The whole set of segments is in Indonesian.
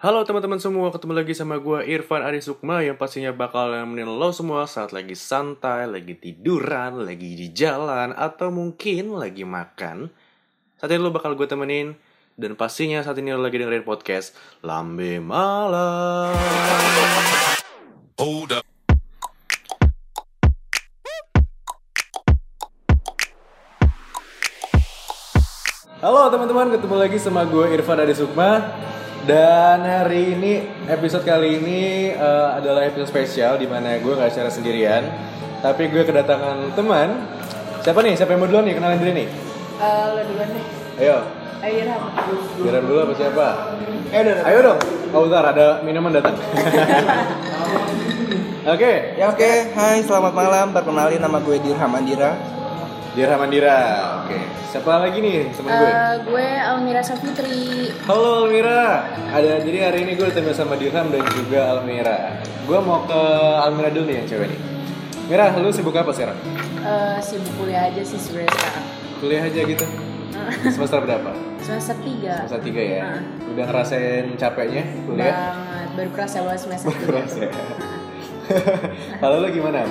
Halo teman-teman semua, ketemu lagi sama gue Irfan Ari Sukma yang pastinya bakal nemenin lo semua saat lagi santai, lagi tiduran, lagi di jalan, atau mungkin lagi makan. Saat ini lo bakal gue temenin, dan pastinya saat ini lo lagi dengerin podcast Lambe Malam. Hold up. Halo teman-teman, ketemu lagi sama gue Irfan Adi Sukma Dan hari ini, episode kali ini eh, adalah episode spesial Dimana gue gak secara sendirian Tapi gue kedatangan teman Siapa nih? Siapa yang mau duluan nih? Kenalin diri nih Eh, lo duluan deh. Ayo, Ayo Irham. biaran dulu apa siapa? Eh, Ayo dong Oh bentar, ada minuman datang Oke, Ya oke, hai selamat malam. Perkenalin nama gue Dirham Andira. Dira Mandira Oke, siapa lagi nih teman gue? Eh, gue Almira Safitri. Halo Almira, ada jadi hari ini gue ditemani sama Dirham dan juga Almira. Gue mau ke Almira dulu nih yang cewek nih. Mira, lu sibuk apa sekarang? Eh, sibuk kuliah aja sih sebenarnya sekarang. Kuliah aja gitu. Semester berapa? Semester 3. Semester tiga ya. Udah ngerasain capeknya kuliah? Banget. Baru kerasa banget semester 3. Kurasa. Kalau lu gimana?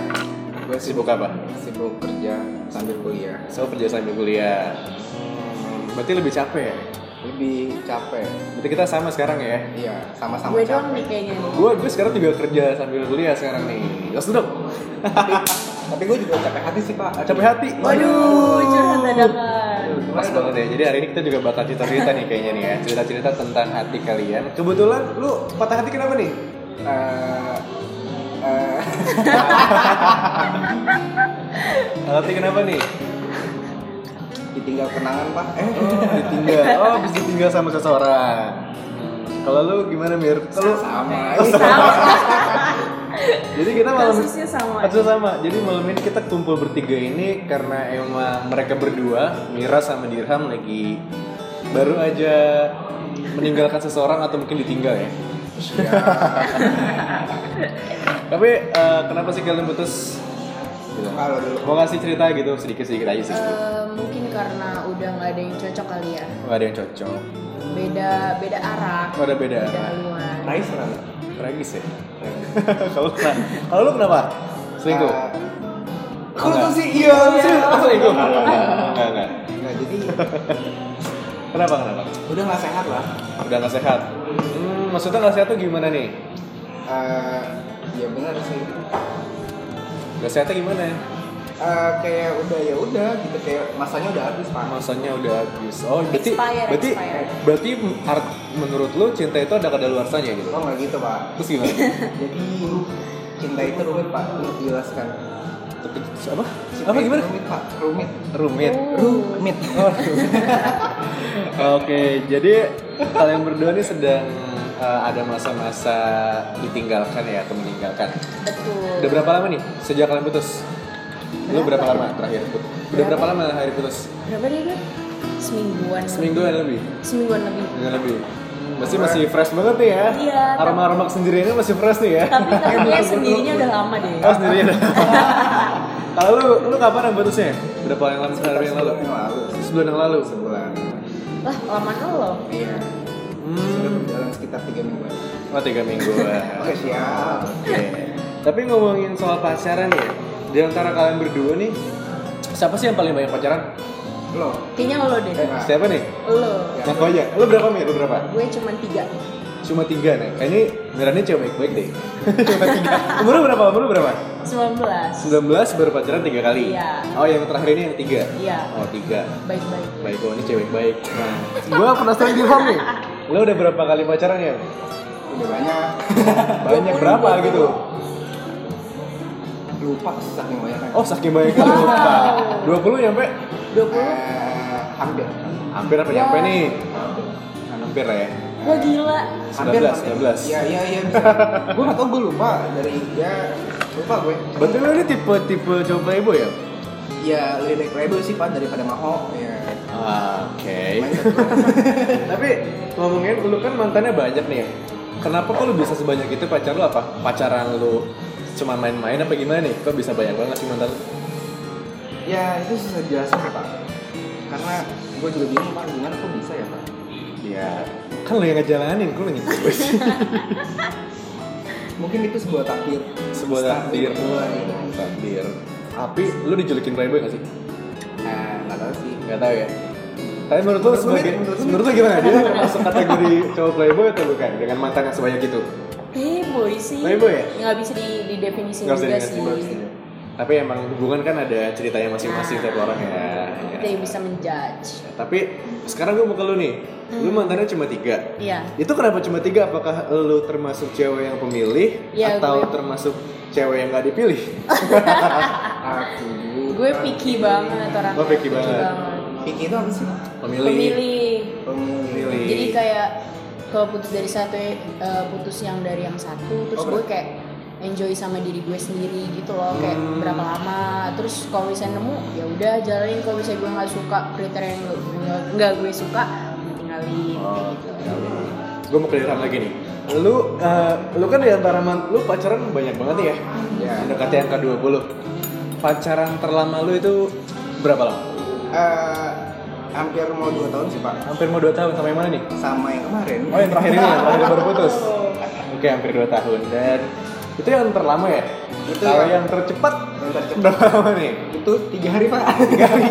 Gue sibuk apa? Sibuk kerja sambil kuliah. So kerja sambil kuliah. Hmm, berarti lebih capek ya? Lebih capek. Berarti kita sama sekarang ya? Iya, sama-sama Gue doang nih capek. kayaknya nih. Gue gue sekarang juga kerja sambil kuliah sekarang nih. Gas dong. Tapi gue juga capek hati sih pak. Capek hati. Waduh, curhat ya. dadakan. Pas banget ya. Jadi hari ini kita juga bakal cerita-cerita nih kayaknya nih ya. Cerita-cerita tentang hati kalian. Kebetulan lu patah hati kenapa nih? Eh, eh, Patah hati kenapa nih? ditinggal kenangan pak. Eh, Ditinggal. Oh, bisa ditinggal sama seseorang. Kalau lu gimana Mir? Kalau sama. Eh, sama. jadi kita malam Kasusnya sama. ya? Kasusnya sama. Jadi malam ini kita kumpul bertiga ini karena emang mereka berdua Mira sama Dirham lagi baru aja meninggalkan seseorang atau mungkin ditinggal ya. Iya. Tapi eh, kenapa sih kalian putus? Gitu. Kalau dulu. Mau ngasih cerita gitu sedikit-sedikit aja sih. Eh, mungkin karena udah nggak ada yang cocok kali ya. Gak ada yang cocok. Beda beda arah, Gak ada beda. beda haluan. Nice banget. Tragis ya. Kalau kenapa? Kalau lu kenapa? Selingkuh. Eh, Kalau tuh sih iya. Selingkuh. Enggak, enggak. Nah, jadi Kenapa kenapa? udah nggak sehat lah. Udah nggak sehat. Hmm, maksudnya nggak sehat tuh gimana nih? Eh, ya benar sih. Nggak sehatnya gimana? Eh, kayak udah ya udah gitu kayak masanya udah habis pak. Masanya udah habis. Oh, berarti Expired, berarti expired. berarti art- menurut lu cinta itu ada kadaluarsanya gitu. Oh nggak gitu pak. Terus gimana? Jadi cinta itu rumit pak untuk dijelaskan. Terus apa? Cinta Apa itu gimana? Rumit pak, rumit. Rumit. Rumit. Oke, jadi kalian berdua nih sedang eh, ada masa-masa ditinggalkan ya atau meninggalkan. Betul. Udah berapa lama nih sejak kalian putus? Lu berapa lama terakhir putus? Udah berapa Berapa? lama hari putus? Berapa deh gue? Semingguan. Semingguan lebih. Semingguan lebih. Dengan lebih. Masih masih fresh banget nih ya. Iya, tapi- Aroma-aroma sendiriannya masih fresh nih ya. Tapi kayaknya sendirinya udah lama deh. Oh, sendirian. Kalau lu, lu kapan yang putusnya? Berapa yang lama hari yang lalu? Yang lalu Sebulan yang lalu. sebulan. Lah, laman lo. Iya. Sudah Hmm. berjalan sekitar tiga mingguan. Oh, tiga minggu. Oke siap. Iya. Tapi ngomongin soal pacaran ya, di antara kalian berdua nih, siapa sih yang paling banyak pacaran? Lo. Kayaknya lo deh. Eh, Nah, Siapa nih? Lo. Ngaku aja. Lu berapa Mir? Lu berapa? Gue cuman tiga. Cuma tiga nih. Kayaknya ini benerannya cewek baik-baik deh. Cuma tiga. Umur lu berapa? Umur lu berapa? 19. 19 baru pacaran tiga kali. Iya. Oh yang terakhir ini yang tiga. Iya. Oh tiga. Baik-baik. Baik gua ini cewek baik. Nah, gua penasaran Dirham nih. Lo udah berapa kali pacaran ya? Udah banyak. Banyak berapa gitu? Lupa saking banyaknya. Oh saking banyaknya lupa. 20 nyampe? 20. Eh, hampir. Hampir apa nyampe Wah. nih? Hampir. Hampir lah ya. Wah gila. 19, 19. Iya iya iya. Gue nggak tau gue lupa dari ya lupa gue. Berarti lo ini tipe tipe cowok playboy ya? Ya lebih baik rebel sih pak daripada maho. Ya. Oke. Mindset gue. Tapi ngomongin lu kan mantannya banyak nih. ya. Kenapa kok lu bisa sebanyak itu pacar lu apa? Pacaran lu cuma main-main apa gimana nih? Kok bisa banyak banget sih mantan lu? Ya itu susah jelasin pak Karena gue juga bingung pak gimana kok bisa ya pak ya kan lo yang ngejalanin gue nanya gue sih. mungkin itu sebuah takdir sebuah takdir Sebuah gitu. takdir tapi lo dijulukin playboy gak sih nah nggak tahu sih nggak tahu ya tapi menurut gitu. lo Menurut lo sebagai gimana? Menurut lo menurut lo gimana dia masuk kategori cowok playboy atau bukan dengan mantan yang sebanyak itu Playboy sih. Playboy ya? Nggak bisa di, nggak didefinisikan usah juga dikasih sih. banget sih. tapi emang hubungan kan ada ceritanya masing-masing tiap orang ya, Kita ya. yang bisa menjudge. tapi sekarang gue mau ke lo nih Hmm. lo mantannya cuma tiga Iya. Itu kenapa cuma tiga? Apakah lu termasuk cewek yang pemilih Iya, atau gue. termasuk cewek yang gak dipilih? aku Gue picky banget orangnya. Lo picky banget. pikir itu apa sih Pemilih. Pemilih. Pemilih. Jadi kayak kalau putus dari satu, eh, putus yang dari yang satu, terus Oh, gue kayak enjoy sama diri gue sendiri gitu loh kayak Hmm. berapa lama terus kalau misalnya nemu ya udah jalanin kalau misalnya gue nggak suka kriteria yang gue- gue- nggak gue suka gue tinggalin kayak gitu Gue mau kelihatan lagi nih. Lu eh, lu kan di antara man- lu pacaran banyak banget nih ya. ya Mendekati angka 20. Pacaran terlama lu itu berapa lama? eh, hampir mau dua tahun sih pak Hampir mau 2 tahun sama yang mana nih? sama yang kemarin Oh, yang terakhir ini, yang terakhir baru putus. Oke, hampir 2 tahun dan itu yang terlama ya? Itu Kalau yang- yang tercepat Yang tercepat. berapa lama nih? itu tiga hari pak tiga hari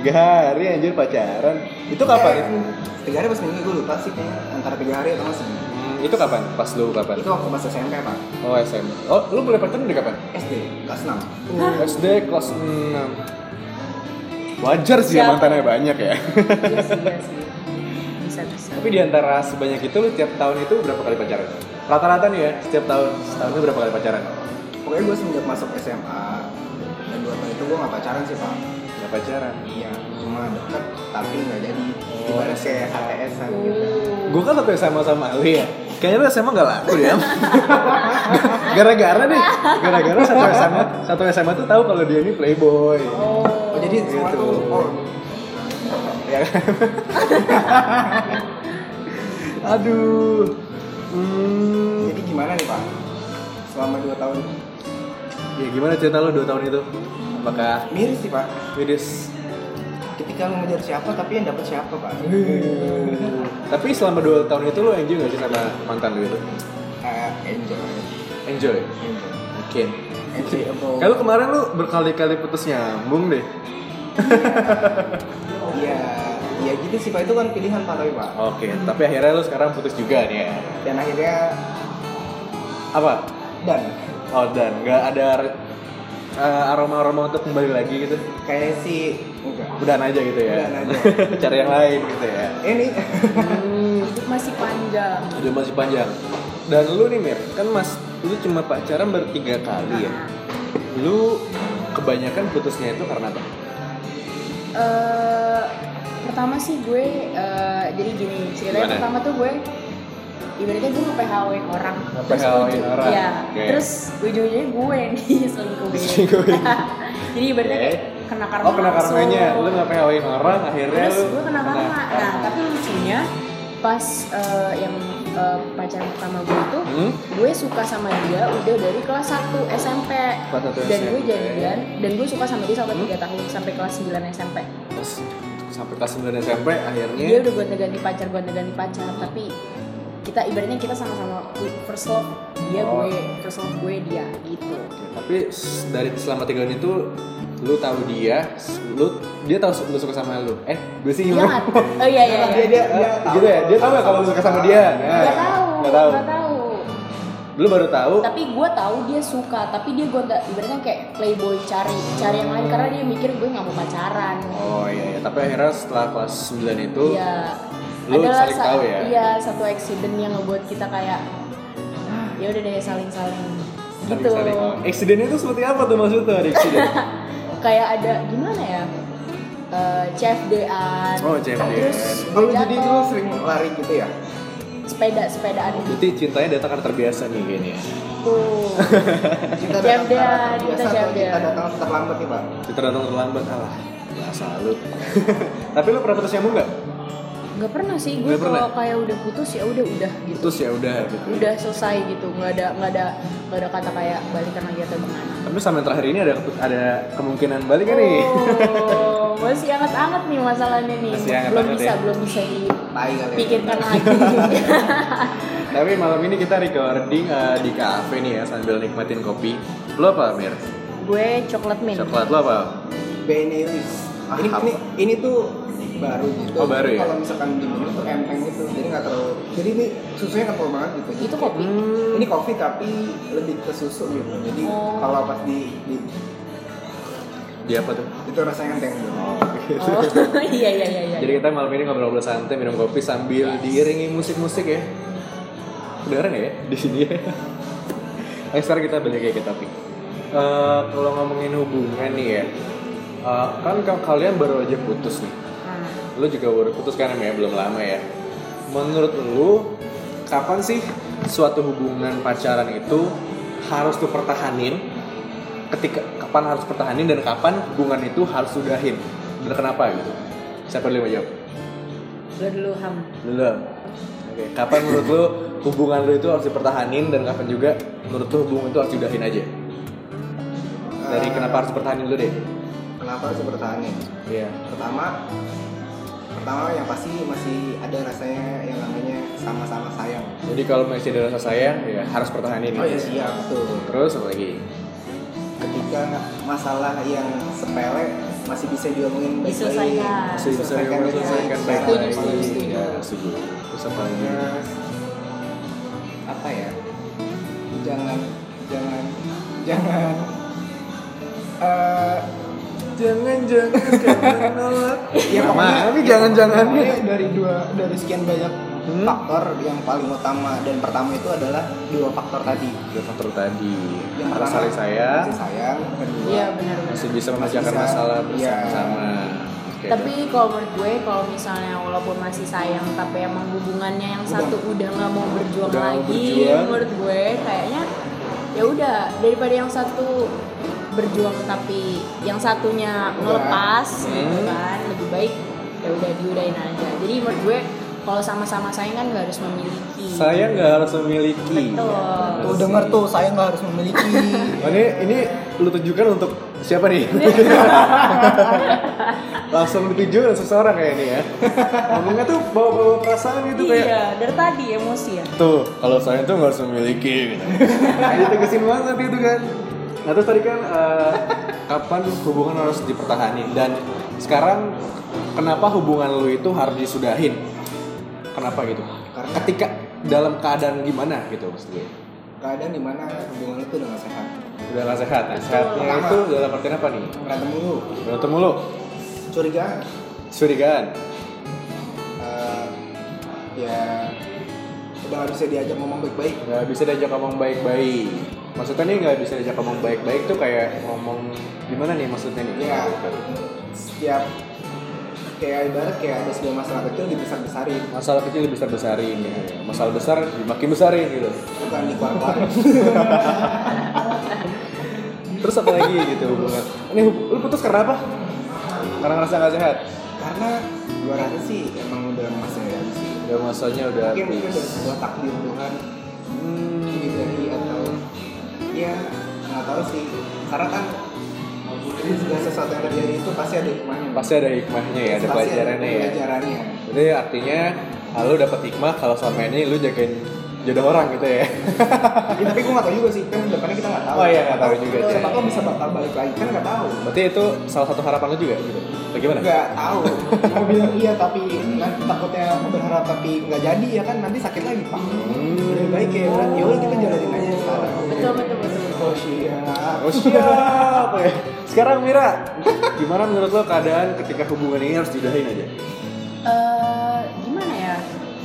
tiga hari anjir pacaran itu kapan Iya. tiga hari pas minggu gue lupa sih kayaknya antara tiga hari atau masih Hmm, itu kapan pas lu kapan itu waktu pas SMP pak oh SM oh lu mulai pacaran dari kapan SD kelas enam SD kelas 6 wajar sih ya, mantannya banyak ya Iya sih, iya sih. bisa bisa tapi diantara sebanyak itu lu tiap tahun itu berapa kali pacaran rata-rata nih ya setiap tahun setahunnya berapa kali pacaran pokoknya gue semenjak masuk SMA dan dua tahun itu gue gak pacaran sih pak nggak pacaran iya cuma deket tapi nggak jadi Oh. ibarat kayak HTS an gitu gue kan waktu sama sama lu ya kayaknya lu SMA gak laku ya gara-gara nih gara-gara satu SMA satu SMA tuh tahu kalau dia ini playboy oh jadi semua Gitu. tuh oh ya kan? aduh hmm. jadi gimana nih pak selama dua tahun ya gimana cerita lo 2 tahun itu apakah miris sih pak miris ketika lo ngejar siapa tapi yang dapat siapa pak tapi selama 2 tahun itu lo enjoy gak sih sama mantan lo itu Eh, enjoy enjoy enjoy mungkin enjoy about kalau kemarin lo berkali-kali putus nyambung deh iya iya gitu sih pak itu kan pilihan pak tapi pak oke tapi akhirnya lo sekarang putus juga nih ya dan akhirnya apa dan oh dan nggak ada eh, aroma-aroma untuk kembali lagi gitu kayak si enggak udah aja gitu ya Udahan aja. cari yang lain gitu ya ini hidup Hmm, masih panjang udah masih panjang dan lu nih Mir kan mas lu cuma pacaran baru tiga kali ya lu kebanyakan putusnya itu karena apa Eh, pertama sih gue eh, jadi gini ceritanya Gimana? pertama tuh gue ibaratnya gue nge PHW orang Terus Nge-PHW-in ujung- orang. Iya. Oke. terus ujung-ujungnya gue yang diselingkuhin Diselingkuhin. jadi ibaratnya Oke. kayak kena karma oh kena langsung. karenanya lu nggak phw orang akhirnya terus lu gue kena karma nah karma. tapi lucunya pas eh, yang eh, pacaran pertama gue itu hmm? gue suka sama dia udah dari kelas 1 SMP Kelas satu dan gue SMP. jadian dan gue suka sama dia sampai Hmm? 3 tahun sampai kelas 9 SMP terus sampai kelas 9 SMP akhirnya dia udah gonta-ganti pacar gonta-ganti pacar tapi kita ibaratnya kita sama-sama first love dia Oh. gue first love gue dia gitu Oke, tapi s- dari selama tiga tahun itu lu tahu dia s- lu dia tahu su- lu suka sama lu eh gue sih dia ngomong. nggak oh iya iya dia iya dia dia tahu. gitu ya dia tahu nggak kalau lu suka sama dia Nah, nggak tahu nggak tahu nggak tahu lu baru tahu tapi gue tahu dia suka tapi dia gonta ibaratnya kayak playboy cari cari yang lain karena dia mikir gue nggak mau pacaran Oh iya, iya. tapi akhirnya setelah kelas 9 itu Iya. Lu Adalah saling sa- tahu ya? Iya, satu accident yang ngebuat kita kayak "Ah, ya udah deh saling-saling gitu. saling-saling. oh. Accident itu seperti apa tuh maksudnya ada accident? Kayak ada gimana ya? Eh, CFD-an. oh CFD. oh, lu jadi Jatuh. lu sering lari gitu ya sepeda-sepedaan Berarti cintanya datang karena terbiasa nih kayaknya. ya. gitu. kita Jam datang sekarang dan, biasa kita jam atau kita dan. datang terlambat nih pak Cinta datang terlambat, alah bahasa lu. tapi lu pernah putus nyambung nggak? Gak pernah sih gue Nggak pernah. kalau kayak udah putus ya udah udah gitu. Putus ya udah gitu. Udah selesai gitu. nggak ada nggak ada nggak ada kata kayak balikan lagi atau gimana. Tapi sama yang terakhir ini ada ada kemungkinan balik kan nih? Oh, masih anget-anget nih masalahnya nih Masih belum anget-anget bisa ya. belum bisa Tai kali ya. dipikirkan lagi Tapi malam ini kita recording eh, di cafe nih ya sambil nikmatin kopi. Lo apa, Mir? gue coklat mint Coklat lo apa? Benelis. Ini, Ah, Apa? ini ini tuh baru gitu. Oh, baru ya? Kalau misalkan diminum tuh empeng gitu, jadi nggak terlalu. Jadi ini susunya kental banget gitu. itu kopi Hmm. Ini kopi tapi lebih ke susu gitu. Jadi Oh. kalau pas di, di Dia apa tuh? itu rasanya enteng gitu. oh iya iya iya iya Jadi kita malam ini ngobrol-ngobrol santai, minum kopi sambil diiringi musik-musik ya. Kedengeran ya di sini ya. Ayo sekarang kita balik lagi ke topik. Eh, kalau ngomongin hubungan nih ya, eh, kan ka- kalian baru aja putus nih. Nah, Lu juga baru putus kan ya, belum lama ya. Menurut lu, kapan sih suatu hubungan pacaran itu harus tuh pertahanin? Ketika kapan harus pertahanin dan kapan hubungan itu harus sudahin? Dan kenapa gitu? Siapa dulu yang mau jawab? gue dulu ham Belum. Oke, kapan menurut lu hubungan lu itu harus dipertahanin dan kapan juga menurut lu hubungan itu harus diudahin aja? Dari Eh, kenapa harus pertahanin dulu deh? Kenapa harus bertahan ya? Iya. Pertama, pertama yang pasti masih ada rasanya yang namanya sama-sama sayang. Jadi kalau masih ada rasa sayang, ya harus pertahanin. Oh ya siap tuh. Terus apa lagi? Ketika masalah yang sepele masih bisa diomongin baik-baik. Diselesaikan. Masih bisa diselesaikan Iya. Setuju, baik-baik. setuju, setuju. Ya, setuju. Terus apa lagi? Terus, Iya. apa ya? Jangan, jangan, jangan. eh, jangan jangan jangan nolak. Ya pokoknya Tapi jangan-jangan. pokoknya dari dua dari sekian banyak Hmm. faktor yang paling utama dan pertama itu adalah dua faktor tadi. Dua faktor tadi. Yang Harus pertama saling sayang, Kasih sayang. Kedua. iya benar benar masih bisa memecahkan Masih bisa. masalah Iya. bersama-sama. Oke. tapi kalau menurut gue kalau misalnya walaupun masih sayang tapi emang hubungannya yang satu udah nggak mau berjuang Udah nggak mau lagi berjuang. menurut gue kayaknya ya udah daripada yang satu berjuang tapi yang satunya ngelepas gitu Hmm. kan lebih baik ya udah diudahin aja jadi menurut gue kalau sama-sama sayang kan nggak harus memiliki Sayang nggak harus memiliki. betul Tuh denger tuh sayang nggak harus memiliki. Oh, ini ini lu tunjukkan untuk siapa nih? langsung dituju langsung seseorang kayak ini ya. Ngomongnya tuh bawa-bawa perasaan gitu kayak iya dari tadi emosi ya tuh kalau saya tuh nggak harus memiliki gitu. Nah, ditegesin banget itu kan. Nah terus tadi kan eh, kapan hubungan harus dipertahani dan sekarang kenapa hubungan lu itu harus disudahin? Kenapa gitu? Karena- Ketika dalam keadaan gimana gitu maksudnya? Keadaan dimana hubungan itu dengan sehat. Udah nggak sehat. Nah, sehatnya Pertama. itu dalam artian apa nih? Berantem mulu, Berantem mulu, curiga curigaan. eh, ya udah nggak bisa diajak ngomong baik-baik Nggak bisa diajak ngomong baik-baik. Maksudnya nih nggak bisa diajak ngomong baik-baik tuh kayak ngomong gimana nih maksudnya nih? Iya. ya setiap kayak ibarat kayak ada sebuah masalah kecil dibesar-besarin Masalah kecil dibesar-besarin ya. Masalah besar makin besarin gitu. bukan dikeluar Terus apa lagi gitu hubungan? Ini hub- lu putus karena apa? Karena ngerasa nggak sehat. karena gua rasa sih emang udah masanya sih Udah masanya udah mungkin itu habis. udah sebuah takdir Tuhan Hmm, gitu dari atau ya nggak tahu sih karena kan segala sesuatu yang terjadi itu pasti ada hikmahnya pasti ada hikmahnya ya, ada Pasti pelajarannya ya. pelajarannya Jadi artinya ah, lu dapat hikmah kalau selama ini lu jagain jodoh orang gitu ya. Ya, tapi gue gak tau juga sih, kan depannya kita gak tau Oh iya, nggak tahu juga. Kita siapa tahu bisa bakal balik lagi, kan gak tau Berarti itu salah satu harapan lu juga gitu. Bagaimana? Gak tau, mau bilang iya tapi nanti takutnya berharap tapi gak jadi ya kan Nanti sakit lagi pak Hmm. Lebih baik ya, berarti yaudah kita jalanin aja sekarang betul betul betul Oh siap Oh siap ya. Sekarang Mira, gimana menurut lo keadaan ketika hubungan ini harus diudahin aja? eh gimana ya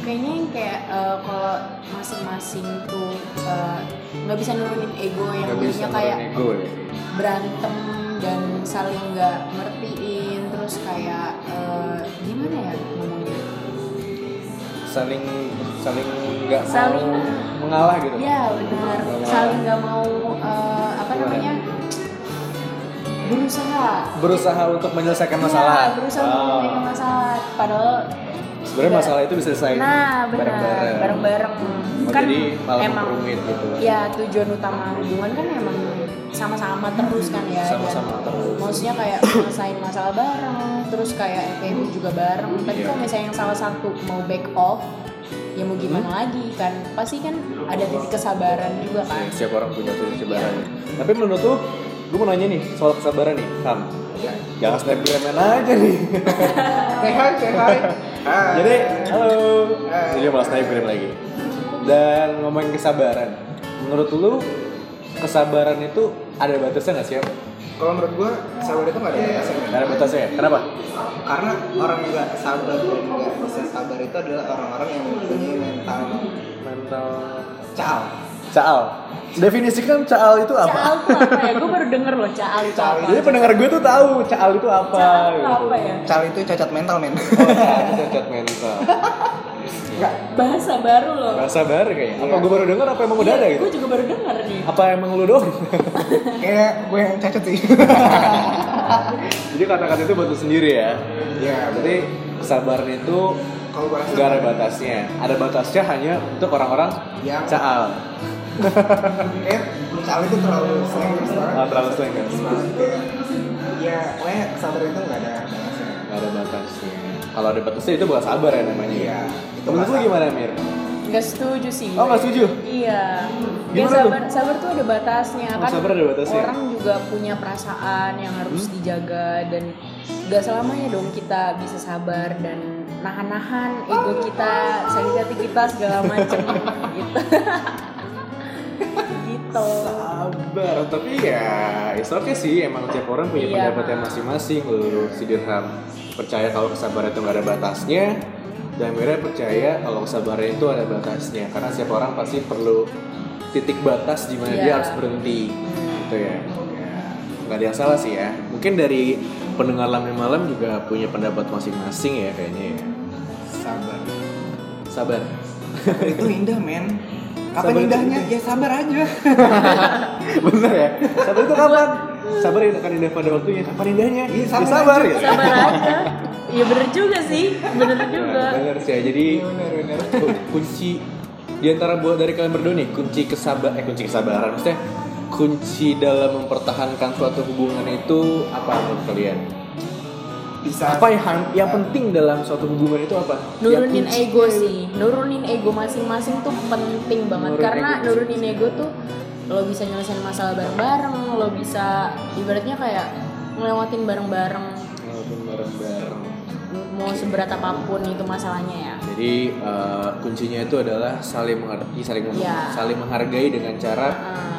kayaknya yang kayak eh, kalau masing-masing tuh eh, nggak bisa nurunin ego yang Nggak jadinya nurunin kayak ego ya. berantem dan saling nggak ngertiin terus kayak eh, gimana ya ngomongnya Saling saling nggak mau Saling- mengalah gitu. ya benar Nggak mau. saling nggak mau eh, apa Gimana? namanya berusaha Berusaha untuk menyelesaikan masalah. Iya, berusaha Oh. menyelesaikan masalah padahal Sebenarnya masalah itu bisa selesai Nah, benar. bareng-bareng. Bareng-bareng. Oh, Kan jadi malah emang memperumit gitu. ya tujuan utama hubungan kan emang sama-sama terus kan ya. dan Sama-sama terus. Maksudnya kayak ngelesain masalah bareng, terus kayak FPM juga bareng. Tapi Iya. kalau misalnya yang salah satu mau back off, ya mau gimana Hmm. lagi kan? Pasti kan ada titik kesabaran juga kan. Ya, Setiap orang punya tuh kesabarannya. Tapi menurut lu, gue mau nanya nih soal kesabaran nih, Sam. Iya. Jangan snapgraman aja nih. Say hi, say hi. Hai. Jadi, halo. Iya. Hai. Jadi dia malah snapgram lagi. Dan ngomongin kesabaran. Menurut lu, kesabaran itu ada batasnya nggak sih? Am? kalau menurut gua sabar itu nggak ada batasnya. Nggak Ada batasnya ya? Kenapa? karena orang yang nggak sabar dan nggak bisa sabar itu adalah orang-orang yang mempunyai mental Mental. cal Caal. Definisikan caal itu apa? Caal tuh apa ya? Gue baru denger loh caal itu Caal apa. Jadi pendengar gue tuh tahu caal itu apa. Caal tuh gitu. apa ya? cal itu cacat mental men Oh, caal itu cacat mental. Bahasa baru loh. Bahasa baru kayaknya. Apa gue baru denger apa emang udah ada gitu? Gue juga baru denger nih. Apa emang lu doang? kayak gue yang cacat sih Jadi kata-kata itu buat lu sendiri ya. ya Berarti kesabaran itu kalau gue nggak ada batasnya. Ada batasnya hanya untuk orang-orang Yang- caal. kayak cal eh, itu terlalu slangers banget Ah, terlalu slangers. Banget, kayak, ya pokoknya sabar itu nggak ada batasnya Nggak ada batasnya. Kalau ada batasnya itu bukan sabar ya namanya. Iya, itu Menurut lu bahasa. gimana Mir? Gak setuju sih. Oh nggak setuju? Iya. Ya, Gimana sabar, sabar tuh ada batasnya Oh, kan. sabar ada batasnya. Hmm? Orang juga punya perasaan yang harus dijaga dan gak selamanya dong kita bisa sabar dan nahan-nahan ego kita, sakit hati kita segala macem gitu. gitu. Sabar, tapi ya it's okay sih emang tiap orang punya Iya, pendapatnya Mas. masing-masing loh si Dirham percaya kalau kesabaran itu nggak ada batasnya dan Mira percaya kalau kesabaran itu ada batasnya karena setiap orang pasti perlu titik batas di mana Iya. Hmm. dia harus berhenti gitu ya Ya, nggak ada yang salah sih ya mungkin dari pendengar lambe malam juga punya pendapat masing-masing ya kayaknya ya sabar sabar itu indah men Sabar kapan itu indahnya indah. ya sabar aja bener ya sabar itu kapan sabar akan indah pada waktunya kapan indahnya Iya, Ya, sabar sabar aja. ya Sabar aja. Iya bener juga sih, bener Ya, juga. bener sih ya. Jadi bener bener ku- kunci di antara buat dari kalian berdua nih, kunci kesabar eh kunci kesabaran maksudnya kunci dalam mempertahankan suatu hubungan itu apa menurut kalian? bisa Apa yang han- yang penting dalam suatu hubungan itu apa? Ya, nurunin kunci. ego sih nurunin ego masing-masing tuh penting banget Nurunin karena ego nurunin ego tuh lo bisa nyelesain masalah bareng-bareng lo bisa ibaratnya kayak ngelewatin bareng-bareng Ngelakuin bareng-bareng. mau seberat apapun itu masalahnya ya Jadi eh, kuncinya itu adalah saling mengerti, saling meng- Iya. Ah. saling menghargai dengan cara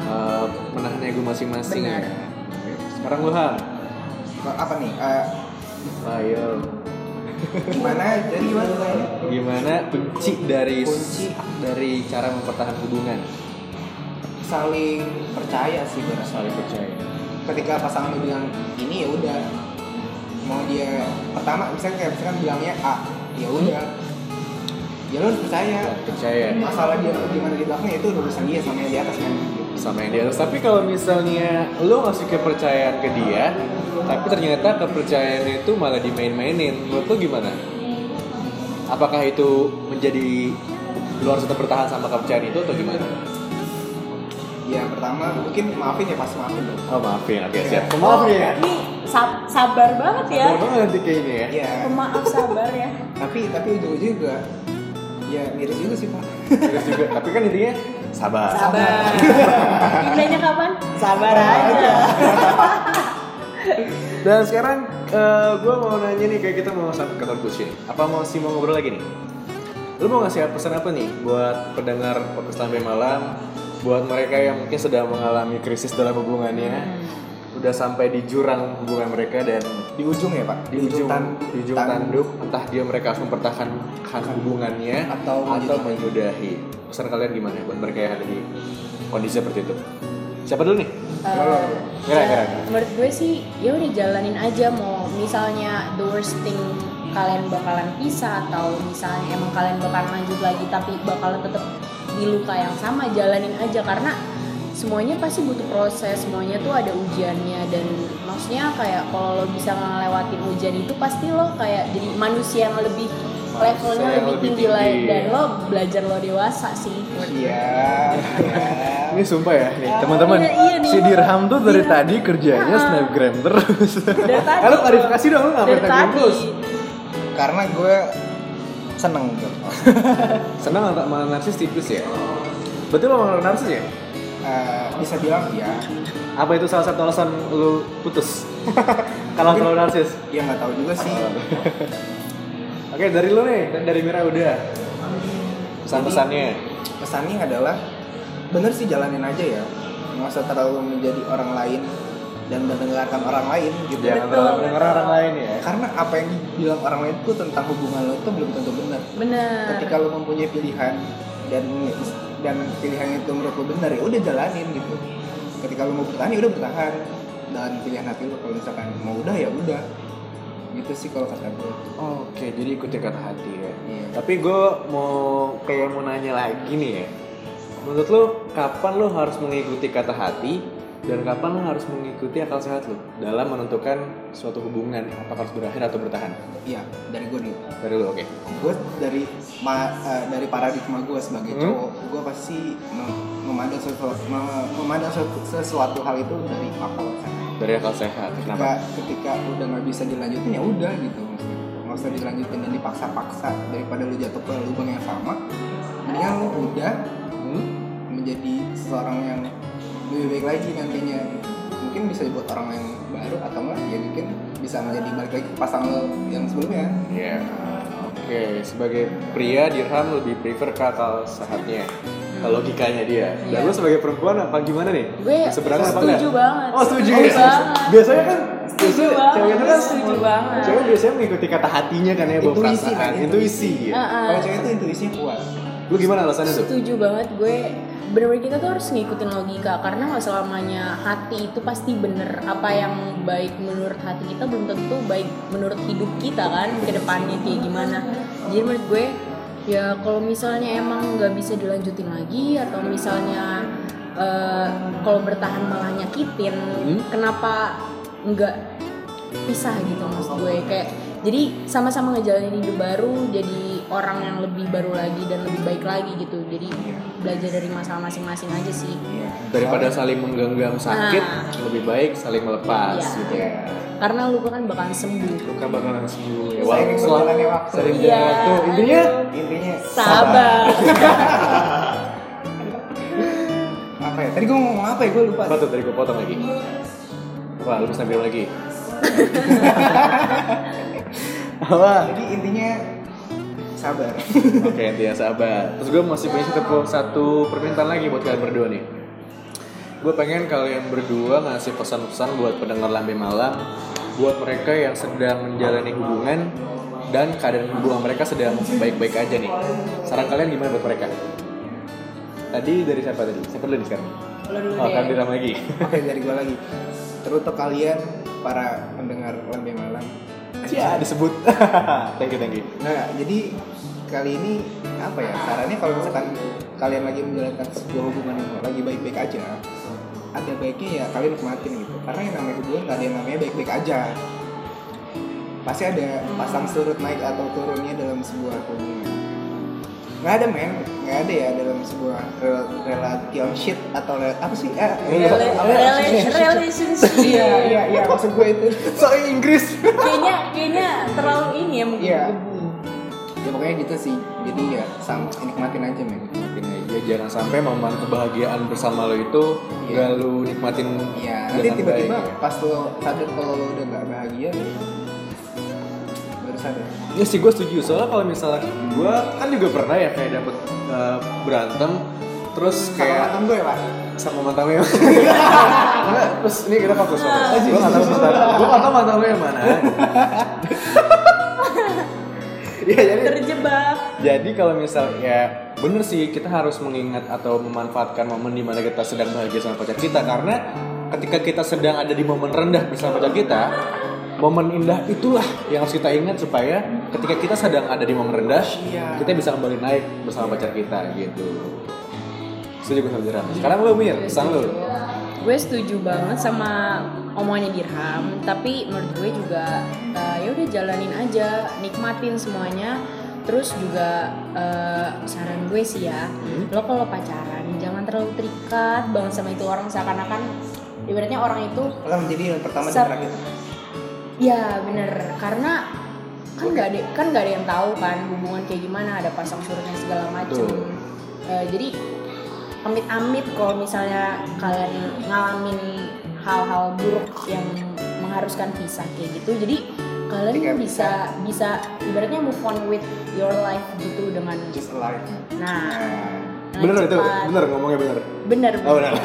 eh, menahan ego masing-masing. Benar. ya. Oke. Sekarang lu ha, apa nih Eh, ayo gimana jadi gimana pertanyaannya? gimana kunci dari Kunci. dari cara mempertahankan hubungan saling percaya sih gue rasa saling percaya ketika pasangan lu bilang ini ya udah mau dia pertama misalnya kayak misalkan bilangnya A ya udah ya lu harus percaya Saling percaya masalah dia gimana di belakangnya itu urusan dia sama yang di atas kan sama yang di atas tapi kalau misalnya lo ngasih kepercayaan ke dia tapi ternyata kepercayaan itu malah dimain-mainin menurut lo gimana apakah itu menjadi lo harus tetap bertahan sama kepercayaan itu atau gimana ya pertama mungkin maafin ya pas maafin dong oh maafin oke siap. maafin ya Oh, ini sab- sabar banget ya Sabar banget nanti kayaknya ya ya pemaaf sabar ya tapi tapi ujung-ujungnya juga ya miris juga sih pak Terus juga tapi kan intinya sabar sabar indahnya kapan sabar aja Dan sekarang eh, gue mau nanya nih kayak kita mau sampai kantor kunci nih. Apa mau sih mau ngobrol lagi nih? Lu mau ngasih pesan apa nih buat pendengar podcast sampai malam? Buat mereka yang mungkin sedang mengalami krisis dalam hubungannya, udah sampai di jurang hubungan mereka dan di ujung ya pak di ujung tan- di ujung tan- tanduk, entah dia mereka harus mempertahankan hubungannya Atau atau menyudahi. Pesan kalian gimana buat mereka yang ada di kondisi seperti itu? Siapa dulu nih? Eh, Kira, kira, kira. menurut gue sih ya udah jalanin aja mau misalnya the worst thing kalian bakalan pisah atau misalnya emang kalian bakalan lanjut lagi tapi bakalan tetap di luka yang sama jalanin aja karena semuanya pasti butuh proses semuanya tuh ada ujiannya dan maksudnya kayak kalau lo bisa ngelewatin ujian itu pasti lo kayak jadi manusia yang lebih levelnya Saya lebih lebih tinggi lagi tinggi. dan lo belajar lo dewasa sih Iya. Ini sumpah ya, nih teman-teman. Iya, iya nih. si Dirham tuh dari Dirham. tadi kerjanya Ah. snapgram terus. dari tadi Eh, lu klarifikasi dong lu ngapain dari snapgram tadi terus? Karena gue seneng gitu. tuh. Senang atau malah narsis tipis ya? Berarti lo orang narsis ya? Eh, bisa bilang iya. Apa itu salah satu alasan lu putus? Kalau terlalu narsis. Ya nggak tahu juga sih. Oke, dari lu nih dan dari Mira udah. Pesan-pesannya. Pesannya adalah bener sih jalanin aja ya. Nggak usah terlalu menjadi orang lain dan mendengarkan orang lain gitu. Jangan terlalu dengar orang lain ya. Karena apa yang dibilang orang lain itu tentang hubungan lo itu belum tentu benar. bener ketika lo mempunyai pilihan dan dan pilihan itu menurut lo benar ya udah jalanin gitu ketika lo mau bertahan ya udah bertahan dan pilihan hati lo kalau misalkan mau udah ya udah gitu sih kalau kata gue Oke, jadi ikutin kata hati ya. Iya. Tapi gue mau kayak mau nanya lagi nih ya. Menurut lo kapan lo harus mengikuti kata hati dan kapan lo harus mengikuti akal sehat lo dalam menentukan suatu hubungan apakah harus berakhir atau bertahan? iya dari gue nih Dari lo, oke. gue dari ma- eh, dari paradigma gue sebagai Hmm? cowok gue pasti mem- memandang sesuatu memandang sesuatu, sesuatu hal itu dari apa Dari akal sehat. ketika Kenapa? ketika udah nggak bisa dilanjutin ya udah gitu maksudnya nggak usah dilanjutin dan dipaksa-paksa daripada lu jatuh ke lubang yang sama mendingan lu udah Hmm? menjadi seseorang yang lebih baik lagi nantinya mungkin bisa buat orang yang baru atau enggak ya mungkin bisa menjadi balik lagi ke pasangan lo yang sebelumnya Iya. Oke, sebagai pria Dirham lebih prefer ke akal sehatnya. Ke logikanya dia. Dan lo sebagai perempuan apa gimana nih? gue Seberangnya apa setuju enggak? banget Oh setuju Setuju ya? banget Biasanya kan Setuju biasanya banget, cewek itu kan setuju banget. Cewek biasanya mengikuti kata hatinya kan ya bawa Intuisi perasaan, kan, intuisi ya. Ah, ah. kalau cewek itu intuisinya kuat Lu gimana alasannya tuh? setuju banget gue bener-bener kita tuh harus ngikutin logika karena nggak selamanya hati itu pasti bener apa yang baik menurut hati kita belum tentu baik menurut hidup kita kan ke depannya kayak gimana jadi menurut gue ya kalau misalnya emang nggak bisa dilanjutin lagi atau misalnya eh, kalau bertahan malah nyakitin Hmm? kenapa nggak pisah gitu maksud gue kayak jadi sama-sama ngejalanin hidup baru jadi orang yang lebih baru lagi dan lebih baik lagi gitu jadi belajar dari masalah masing-masing aja sih Iya. Daripada saling menggenggam sakit, Nah. lebih baik saling melepas Iya. gitu ya. karena luka kan bakalan sembuh Luka bakalan sembuh ya. Seiring Walaupun berjalannya waktu. sering Iya. jalan waktu. Intinya intinya sabar apa ya tadi gue ngomong apa ya gue lupa apa tuh tadi gue potong lagi? Wah, lu bisa bilang lagi. Apa? jadi intinya sabar Oke, intinya sabar. Terus gue masih punya satu, satu permintaan lagi buat kalian berdua nih. Gue pengen kalian berdua ngasih pesan-pesan buat pendengar Lambe Malam, buat mereka yang sedang menjalani hubungan dan keadaan hubungan mereka sedang baik-baik aja nih. Saran kalian gimana buat mereka? Tadi dari siapa tadi? Siapa dulu nih sekarang? Lo dulu Oh, deh. kan Diram lagi. Oke dari gue lagi Teruntuk kalian para pendengar Lambe Malam Ya, disebut. thank you, thank you. Nah jadi kali ini apa ya sarannya kalau misalkan kalian lagi menjalankan sebuah hubungan yang lagi baik-baik aja Ada baiknya ya kalian nikmatin gitu Karena yang namanya hubungan gak ada yang namanya baik-baik aja Pasti ada pasang surut naik atau turunnya dalam sebuah hubungan Nggak ada men, nggak ada ya dalam sebuah rel- relationship atau rel- apa sih? Eh, Rela- apa- rela- relationship Iya, iya, iya, maksud gue itu Soalnya Inggris. kayaknya kayaknya terlalu ini ya mungkin Iya. Ya pokoknya gitu sih, jadi ya sama nikmatin aja men Iya. Gini aja, jangan sampai momen kebahagiaan bersama lo itu Iya. gak lo nikmatin Iya, dengan nanti tiba-tiba baik, ya. pas lo sadar kalau lo udah gak bahagia ya, Baru sadar Iya sih gue setuju soalnya kalau misalnya gue kan juga pernah ya kayak dapet eh, berantem terus Sama kayak mantan gue ya pak? sama mantan lo yang Enggak, terus ini kita fokus Ah. fokus gue nggak tahu mantan gue nggak tahu mantan lo yang mana Iya jadi terjebak Jadi kalau misal ya bener sih kita harus mengingat atau memanfaatkan momen dimana kita sedang bahagia sama pacar kita karena ketika kita sedang ada di momen rendah bersama pacar kita momen indah itulah yang harus kita ingat supaya ketika kita sedang ada di momen rendah kita bisa kembali naik bersama pacar kita gitu setuju gue sama Jeram sekarang lo Mir Iya, pesan lo gue setuju banget sama omongannya Dirham tapi menurut gue juga eh, ya udah jalanin aja nikmatin semuanya terus juga eh, saran gue sih ya lo kalau pacaran jangan terlalu terikat banget sama itu orang seakan-akan ibaratnya orang itu Lo menjadi yang pertama dan Sep. terakhir. ya bener karena kan nggak ada kan nggak ada yang tahu kan hubungan kayak gimana ada pasang surutnya segala macem Betul. Eh, jadi amit-amit kalau misalnya kalian ngalamin hal-hal buruk yang mengharuskan pisah kayak gitu jadi Iya, kalian Ketika bisa bisa ibaratnya move on with your life gitu dengan Just alive. nah Nah, dengan Bener itu, cepat. bener ngomongnya bener. bener Oh, bener.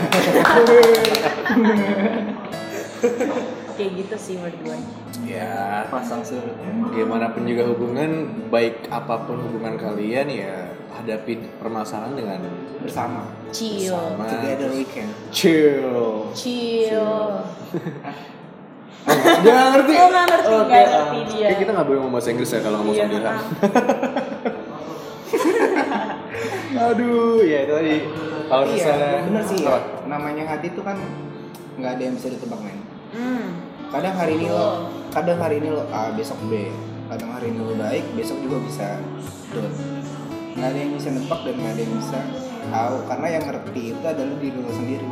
kayak gitu sih menurut gue ya, pasang surutnya. gimana pun juga hubungan, baik apapun hubungan kalian ya hadapi permasalahan dengan Bersama. chill sama. Together we can. Chill. chill Dia nggak ngerti. Oh, nggak ngerti, Oke, nggak ngerti ah. dia. Kayak kita nggak boleh ngomong bahasa Inggris ya kalau ngomong Iya, sama dia. ah. Aduh, ya itu tadi. Kalau misalnya, Iya, bener sih. Oh, Apa? Ya. Namanya hati itu kan nggak ada yang bisa ditebak men. Hmm. Kadang hari ini lo, kadang hari ini lo A, besok B. Kadang hari ini lo baik, besok juga bisa down. Nggak ada yang bisa nebak dan nggak ada yang bisa tahu karena yang ngerti itu adalah diri lo sendiri.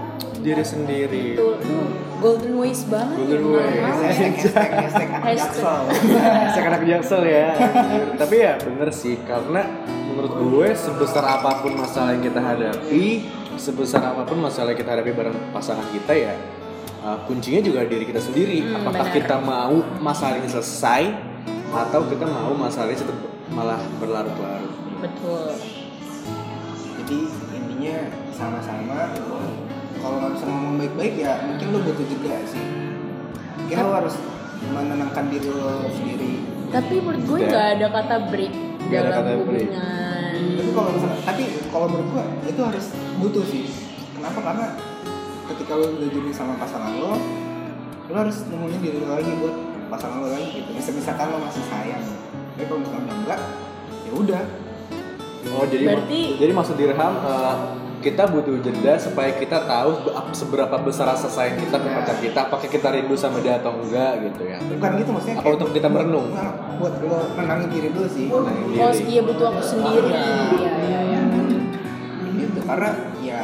diri sendiri. Tuh, tuh, golden ways banget Golden ya, ways. malam-malam ya. Hashtag, hashtag, hashtag, anak Hashtag. jaksel. Saya anak jaksel ya. Tapi ya bener sih karena menurut gue sebesar apapun masalah yang kita hadapi, sebesar apapun masalah yang kita hadapi bareng pasangan kita ya uh, kuncinya juga diri kita sendiri. Hmm, Apakah benar. kita mau masalah ini selesai atau kita mau masalahnya tetap malah berlarut-larut. betul Jadi intinya sama-sama kalau nggak bisa ngomong baik-baik ya mungkin lo butuh jeda sih. Mungkin lo harus menenangkan diri lo sendiri tapi menurut gue Tidak. nggak ada kata break Nggak ada dalam kata break. hubungan tapi kalau misalnya tapi kalau menurut gua itu harus butuh sih kenapa karena ketika lo udah jadi sama pasangan lo lo harus nemuin diri lo lagi buat pasangan lo lagi gitu misal misalkan lo masih sayang tapi kalau misalkan udah enggak ya udah Oh jadi mak- Berarti- jadi maksud dirham eh, kita butuh jeda supaya kita tahu be- ap- seberapa besar rasa sayang kita Ya. ke pacar kita, apakah kita rindu sama dia atau enggak gitu ya. bukan gitu maksudnya Apa untuk kita merenung? Nah, Enggak, buat lo menangin diri lo sih Menangin oh diri. iya butuh aku sendiri Ah. iya iya iya gitu karena ya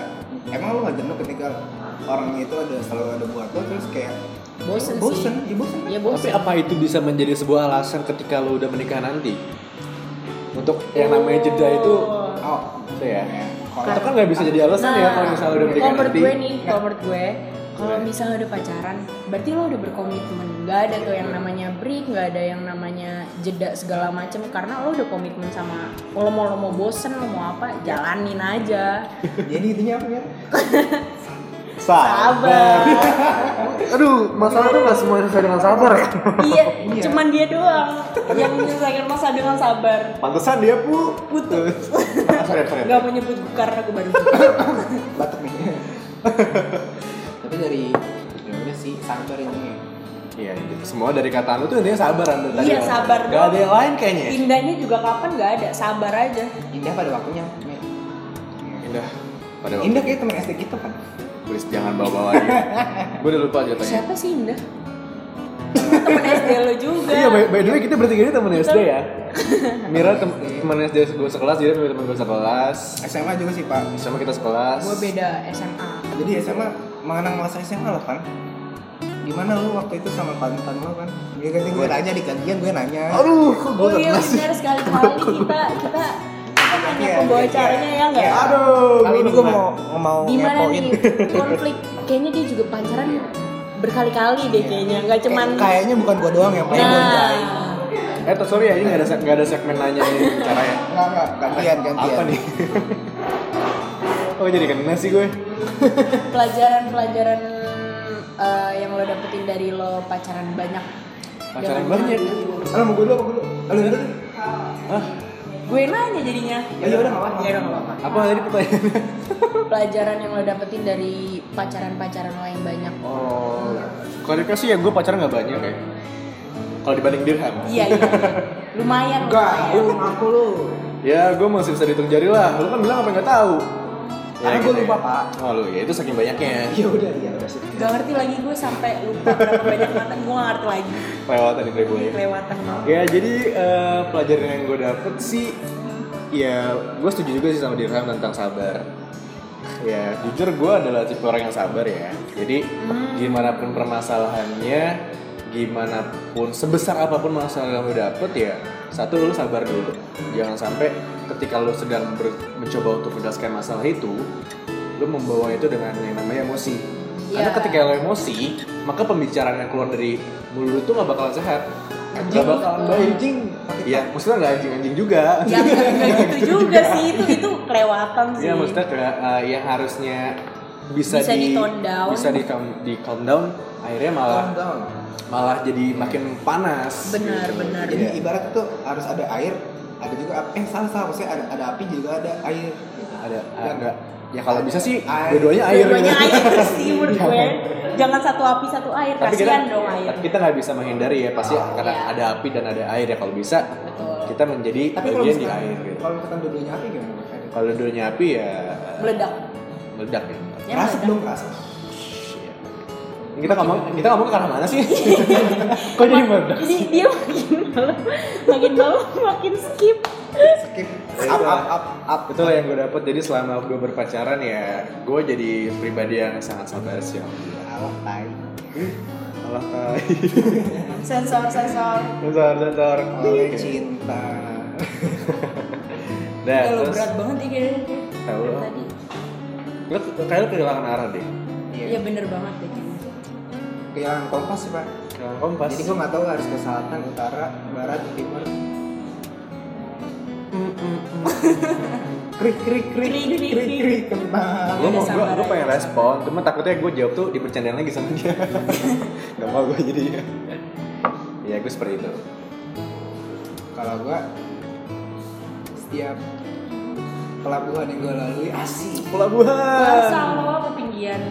emang lo gak jenuh ketika orangnya itu ada selalu ada buat lo terus kayak bosen, bosen sih ya bosen ya Tapi bosen apa itu bisa menjadi sebuah alasan ketika lo udah menikah nanti? Untuk yang namanya jeda itu, oh itu ya. ya kalau Itu kan nggak bisa jadi alasan ya kalau misalnya udah Iya. menikah kalau menurut nanti. gue nih kalau menurut gue kalau misalnya udah pacaran berarti lo udah berkomitmen nggak ada tuh Iya. yang namanya break nggak ada yang namanya jeda segala macem karena lo udah komitmen sama kalau mau lo mau bosen lo mau apa jalanin aja jadi intinya apa ya sabar Aduh, masalah tuh nggak semuanya selesai dengan sabar. Iya, cuman dia doang yang menyelesaikan masa dengan sabar. Pantesan dia pu putus. Ah, sorry, sorry. Gak mau nyebut karena aku baru. batuk nih tapi dari ya udah sih sabar ini Iya, gitu. semua dari kata lu tuh intinya sabar Anda tadi. Iya, ya. sabar Gak doang. ada yang lain kayaknya. ya? Indahnya juga kapan nggak ada, sabar aja. indah pada waktunya Me. Indah. Pada waktu indah kayak teman SD kita kan Please jangan bawa-bawa lagi. Gue udah lupa jatuhnya. Siapa sih Indah? Temen SD lo juga. Iya, by, by the way kita bertiga ini temen SD ya. Mira tem temen SD gue sekelas, jadi temen gue sekelas. SMA juga sih pak Sama kita sekelas. Gue beda SMA. jadi SMA mengenang masa SMA lah kan gimana lu waktu itu sama pantan lo kan dia ganti gue nanya di gantian gue nanya Aduh, kok gue Oh iya benar sekali kali kita kita kita hanya pembawa caranya ya nggak? Iya. Aduh, kali ini gue mau mau Gimana ngepoin nih konflik? Kayaknya dia juga pacaran berkali-kali deh kayaknya, nggak cuman. Kayak- kayaknya bukan gue doang yang paling Nah, Eh, tuh, sorry ya, ini gak ada, seg- nggak ada segmen nanya ini bicara ya. Enggak, enggak, gantian, gantian. Apa nih? oh jadi kena sih gue. pelajaran-pelajaran eh, yang lo dapetin dari lo pacaran banyak Pacaran Jangan- banyak. Halo, mau gue dulu, mau gue dulu. Halo, dulu. Hah? gue nanya jadinya Ya udah, nggak apa-apa. ya udah nggak apa-apa. Apa tadi pertanyaannya? pelajaran yang lo dapetin dari pacaran-pacaran lo yang banyak Oh, klarifikasi ya gue pacaran nggak banyak ya. Kalau dibanding dirham. iya iya lumayan Enggak, lumayan. lu ngaku lu. Ya gue masih bisa dihitung jari lah. Lu kan bilang apa nggak tahu. Karena gue gitu lupa ya. pak. Oh lu ya itu saking banyaknya Ya udah ya udah sih. Gak ngerti lagi gue sampai lupa berapa banyak mantan gue gak ngerti lagi lewatan di Playboy. kelewatan banget. Ya jadi eh, pelajaran yang gue dapet sih Ya gue setuju juga sih sama Dirham tentang sabar Ya jujur gue adalah tipe orang yang sabar ya Jadi gimana pun permasalahannya Gimana pun sebesar apapun masalah yang lo dapet ya Satu lo sabar dulu Jangan sampai ketika lo sedang ber- mencoba untuk mendaskan masalah itu Lo membawa itu dengan yang namanya emosi Karena Ya. ketika lo emosi Maka pembicaraan yang keluar dari mulut itu gak bakalan sehat Anjing. Gak bakalan baik Anjing. Iya, maksudnya nggak anjing-anjing juga. Gak, gak, gak gitu juga sih itu itu kelewatan sih. Iya, maksudnya kayak eh, yang harusnya bisa, Bisa di, di-tone down. bisa di calm, di calm down, akhirnya malah Calm down. malah jadi makin panas. Gitu. Benar, benar. Jadi Iya. ibarat itu harus ada air, ada juga api. Eh salah salah maksudnya ada, ada api juga ada air. gitu. Ada ada ya kalau bisa sih Air. dua-duanya air. Dua-duanya gitu. air sih menurut gue. Jangan satu api satu air, Tapi kita kasihan dong air. tapi kita nggak bisa menghindari ya pasti karena Iya. ada api dan ada air ya kalau bisa Betul. kita menjadi Tapi kalau bagian di misalkan air. Gitu. kalau misalkan dua-duanya api gimana? Kalau dua-duanya api ya Meledak. meledak ya. Ya, Rasuk meledak. dong rasuk. Kita ngomong kita ngomong ke arah mana sih? Kok jadi meledak? Jadi dia makin malam, makin malam makin skip. Skip. Ya Up udah. up up up. Itu lah yang gue dapet jadi selama gue berpacaran ya gue jadi pribadi yang sangat sabar sih. Alah tai. Allah tay. Sensor sensor. Sensor sensor. Oleh cinta. Nah terus Kalau berat banget ya kayaknya. tahu lo, Tadi. lo kayak lo kehilangan arah deh. Iya Iya. bener banget deh kayaknya. Kehilangan kompas sih pak. Kehilangan kompas. Jadi gue nggak tahu harus ke selatan, utara, barat, timur. Krik krik krik Krik, krik, krik krik krik krik. kembang. Gue mau Udah gue sabar gue aja. pengen respon, cuma takutnya gue jawab tuh dipercandain lagi sama dia. Gak mau gue jadi. Iya. Ya gue seperti itu. Kalau gue setiap pelabuhan yang gue lalui Eh, asik. Masa Pelabuhan. lo ketinggian.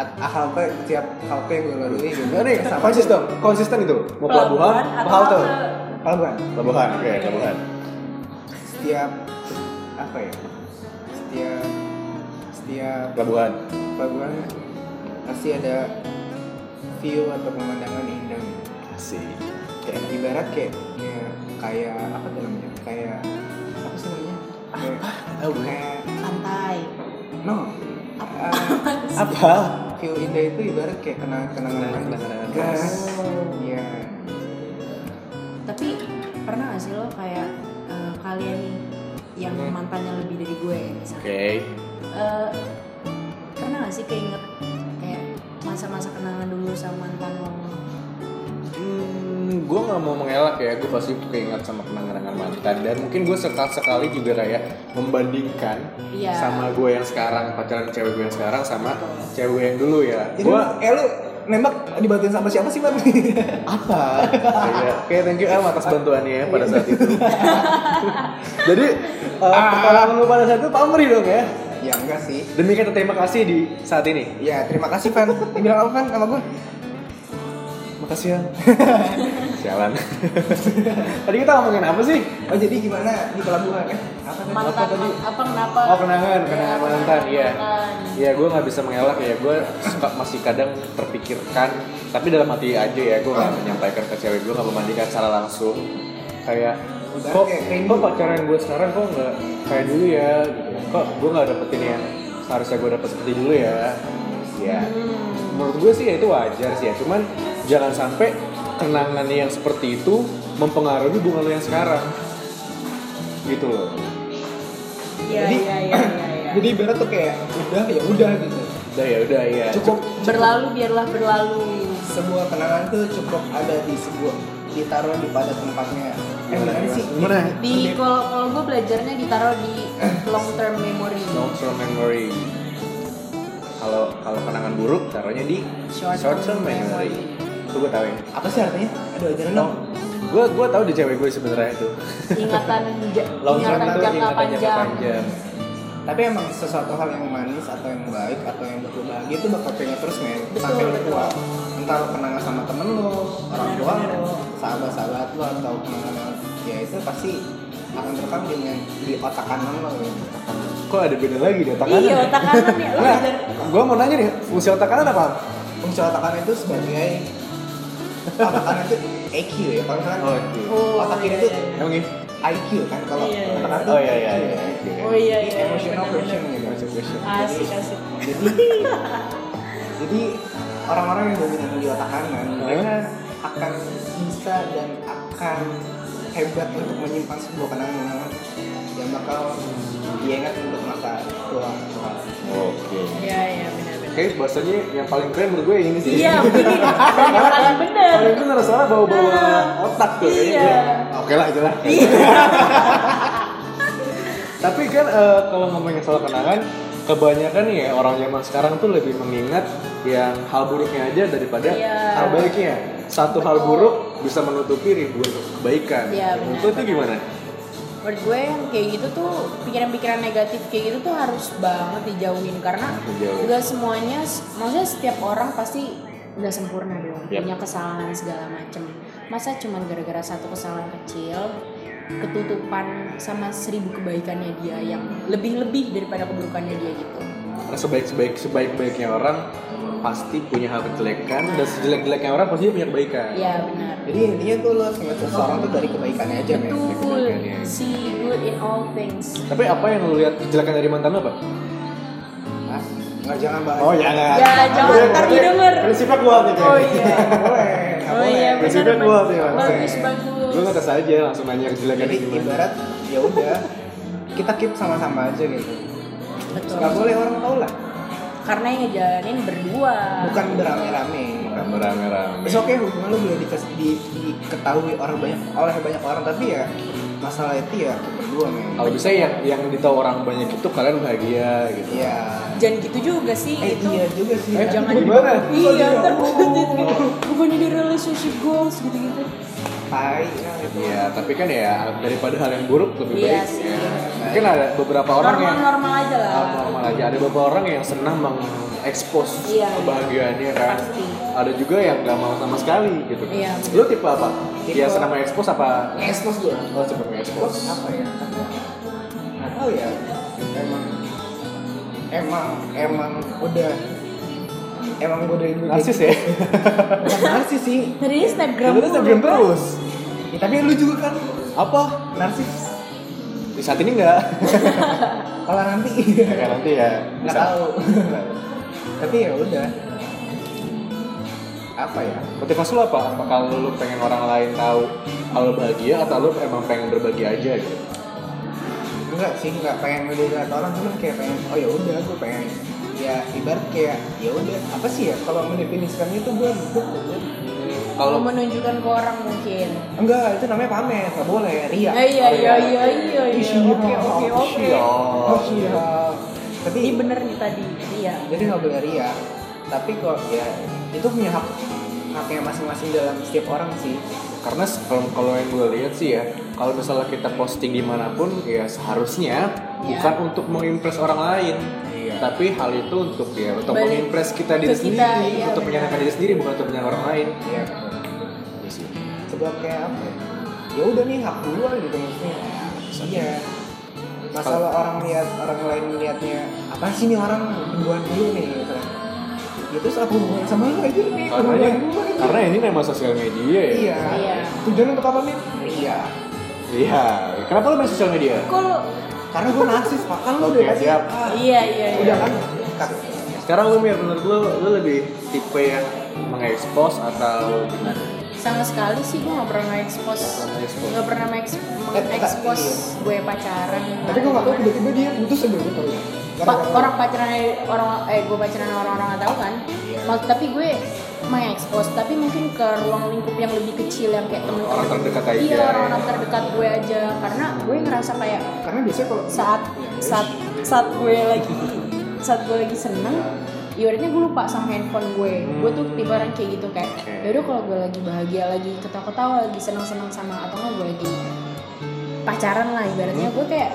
At- ah, halte setiap halte yang gue lalui gitu. Gak nih, Sama aja konsisten, konsisten itu. Mau pelabuhan, atau mau halte. pelabuhan. Pelabuhan, oke pelabuhan. Setiap apa ya? Setiap setiap Pelabuhan. pelabuhan pasti ada view atau pemandangan indah. gitu. Asik. Kayak ibarat kayak ya, kayak apa tuh namanya? Kayak apa sih namanya? Kayak, Tahu gue. kayak pantai. no. Eh, Oh. Apa? view indah itu ibarat kayak kenangan-kenangan manis. Kenangan-kenangan Gas. manis. Iya. Tapi pernah gak sih lo kayak eh, kalian nih yang Hmm. mantannya lebih dari gue misalnya? Oke. Eh, pernah gak sih keinget kayak masa-masa kenangan dulu sama mantan lo? Hmm, gue nggak mau mengelak ya, gue pasti keinget sama kenangan-kenangan mantan dan mungkin gue sekali-sekali juga kayak membandingkan Iya. sama gue yang sekarang pacaran cewek gue yang sekarang sama cewek yang dulu ya. Jadi, Gue eh lu nembak dibantuin sama siapa sih, Bang? apa? Iya. Oke, thank you El atas bantuannya ya pada saat itu. Jadi eh, pertolongan lu pada saat itu pamri dong ya. ya enggak sih. Demi kata terima kasih di saat ini. Ya, terima kasih, Van. Dibilang apa, Van, sama gue? Makasih ya. Jalan. Tadi kita ngomongin apa sih? Oh, jadi gimana di pelabuhan ya? Apa tadi? Mantan Apa tadi? man- apa kenapa? Oh kenangan, kenangan Iya, mantan, iya. mantan. Iya, gue nggak bisa mengelak ya. Gue suka masih kadang terpikirkan, tapi dalam hati aja ya. Gue nggak menyampaikan ke cewek gue, nggak memandikan secara langsung. Kayak Udah, kok, kayak rindu. kok pacaran gue sekarang kok nggak kayak dulu ya? Gitu. Kok gue nggak dapetin yang seharusnya gue dapet seperti dulu ya? Ya, Hmm, menurut gue sih ya itu wajar sih ya. Cuman jangan sampai kenangan yang seperti itu mempengaruhi hubungan lo yang sekarang. Gitu loh. Iya, Jadi- iya, iya, iya, iya. Jadi ibarat tuh kayak udah ya udah gitu. Udah ya, udah ya. Cukup Berlalu biarlah berlalu. semua kenangan tuh cukup ada di sebuah ditaruh di pada tempatnya. Eh, Gimana, gimana gimana? sih? Gimana? Di kalau kalau gue belajarnya ditaruh di long term memory. long term memory kalau kalau kenangan buruk taruhnya di Short-term short term memory itu gue tau ya Apa sih artinya? Aduh, ajarin dong. gue gue tau di cewek gue sebenarnya itu Ingatan ja- long term itu ingatan Iya, jangka ingatannya jangka panjang. panjang Tapi emang sesuatu hal yang manis atau yang baik atau yang buat lu bahagia itu bakal pengen terus men Betul, sampai lu betul. tua. Entar lu kenangan sama temen lu, orang tua Benar, lu, sahabat-sahabat lu atau kenangan ya itu pasti akan terekam dengan di otak kanan lo. gitu. Kok ada beda lagi di otak kanan? Iya, otak kanan ya. Lu Nah, bener. gue mau nanya nih, fungsi otak kanan apa? fungsi otak kanan itu sebagai otak kanan itu EQ ya kalau misalkan Oh, EQ. Oh, otak kiri iya, itu iya, iya. Emang ini? IQ kan kalau Iya, iya. otak kanan itu Oh, iya, iya, EQ, iya. EQ, Oh, iya, Ini iya, emotional benar-benar. quotient gitu Concentration. Asik, asik. jadi jadi orang-orang yang dominan di otak kanan mereka akan bisa dan akan hebat untuk menyimpan sebuah kenangan yang bakal dia ingat untuk masa tua tua Oke. Iya, iya, benar-benar. Oke, bahasanya yang paling keren menurut gue ini sih. Iya, begini. Dan yang paling benar. Paling bener soalnya bawa-bawa otak tuh. kayaknya. Iya. Oke lah, itu lah. Tapi kan eh, kalau ngomongin soal kenangan, kebanyakan ya orang zaman sekarang tuh lebih mengingat yang hal buruknya aja daripada Iya. hal baiknya. Satu hal Betul. buruk bisa menutupi ribuan kebaikan. Iya, benar. Itu, itu gimana? Menurut gue yang kayak gitu tuh pikiran-pikiran negatif kayak gitu tuh harus banget dijauhin karena Dijauhin. nggak semuanya, maksudnya setiap orang pasti nggak sempurna dong, Yap. punya kesalahan segala macem. Masa cuman gara-gara satu kesalahan kecil ketutupan sama seribu kebaikannya dia yang lebih-lebih daripada keburukannya dia gitu. Karena sebaik-sebaik sebaik-baiknya orang pasti punya hal kejelekan dan sejelek-jeleknya orang pasti punya kebaikan. Iya benar. jadi intinya tuh lo sebagai seseorang tuh dari kebaikannya aja men Betul. See good in all things. Tapi apa yang lu lihat kejelekan dari mantan lu apa? Hah? Nah, nggak jangan bahas Oh ya enggak. Ya, jangan, ntar didengar. Prinsipnya kuat nih. Oh iya. boleh nggak Oh boleh. iya Prinsipnya benar. kuat ya. Mas. Bagus Lu bagus. ngetes aja langsung nanya kejelekan jadi dari gimana. ibarat ya udah kita keep sama-sama aja gitu Betul. nggak boleh orang tahu lah Karena yang ngejalanin berdua. bukan beramai-ramai Rame-rame. It's okay hubungan lu boleh dikes- di- diketahui orang banyak oleh banyak orang tapi ya masalah itu ya kita berdua men. Kalau bisa yang yang ditahu orang banyak itu kalian bahagia gitu. Iya. Jangan gitu juga sih Eh itu. iya juga sih. Eh, Jangan gimana? Iya, ntar gue Oh, ngedit gitu. Bukan ini relationship goals gitu-gitu. Tai. ya, gitu. Iya, tapi kan ya daripada hal yang buruk lebih Iya baik. sih. ya. Mungkin ada beberapa orang yang Ah, Normal-normal aja lah. normal aja. Ada beberapa orang yang senang mengekspos Iya, iya. kebahagiaannya kan. Pasti. Ada juga yang nggak mau sama sekali gitu. Iya, benar. Lu tipe apa? Tipe- Yang senang mengekspos apa? Expose gua. Lo cepet mengekspos. Expose apa ya? Nggak tahu ya. Emang emang emang udah emang gua dari dulu Narsis ya. Bukan narsis sih. Tadi ini Instagram Lu Instagram mulu. terus. Ya, tapi lu juga kan Apa? narsis. Di saat ini enggak. Kalau nanti Kayak nanti ya. nggak bisa. tahu. tapi ya udah. Apa ya? Motivasi lu apa? Apakah lu, lu pengen orang lain tahu kalau bahagia atau lu emang pengen berbagi aja gitu? enggak sih enggak pengen ngelihat orang cuman kayak pengen oh ya udah gue pengen ya ibarat kayak ya udah apa sih ya kalau mendefinisikannya itu gue duduk Kalau Kalau menunjukkan ke orang mungkin. enggak itu namanya pamer nggak boleh ria Eh, Iya, iya, iya, iya, iya. Iya. Oke, oke, oke. Iya. oh iya tapi Ini bener nih tadi. Iya. jadi nggak boleh ria tapi kok ya itu punya hak haknya masing-masing dalam setiap orang sih karena se- kalau kalau yang gue lihat sih ya kalau misalnya kita posting dimanapun ya seharusnya bukan untuk mengimpress orang lain tapi hal itu untuk ya untuk Balik mengimpress kita diri ke kita, sendiri iya, untuk benar. menyenangkan diri sendiri bukan untuk menyenangkan orang lain ya Iya sih. sebab kayak apa ya ya udah nih hak gua gitu maksudnya iya masalah orang lihat orang lain lihatnya apa sih nih orang duluan dulu nih gitu ya terus apa hubungan sama lu aja nih karena ya, hubungan gua gitu. karena ini nama sosial media ya iya Iya. tujuan untuk apa nih iya Iya. kenapa lu main sosial media Kok lu? karena gua narsis pak kan lu Oke, udah kasih siap. ah, Iya, iya, iya. udah kan Kak- sekarang lu mir menurut lu lu lebih tipe yang mengekspos atau gimana sama sekali sih gue nggak pernah expose Nge-expose. nggak pernah mengeks- mengekspos gue pacaran tapi gua nggak tahu tiba-tiba dia putus aja gitu Pa- orang pacaran orang eh gue pacaran sama orang-orang nggak tahu kan Iya. Mal- tapi gue mengekspos tapi mungkin ke ruang lingkup yang lebih kecil yang kayak temen orang terdekat ya. aja iya orang-orang terdekat gue aja karena gue ngerasa kayak karena biasanya kalau saat saat saat gue lagi saat gue lagi seneng ibaratnya gue lupa sama handphone gue Hmm. gue tuh tipe orang kayak gitu kayak yaudah kalau gue lagi bahagia lagi ketawa-ketawa lagi seneng-seneng sama atau nggak gue lagi pacaran lah ibaratnya Hmm. gue kayak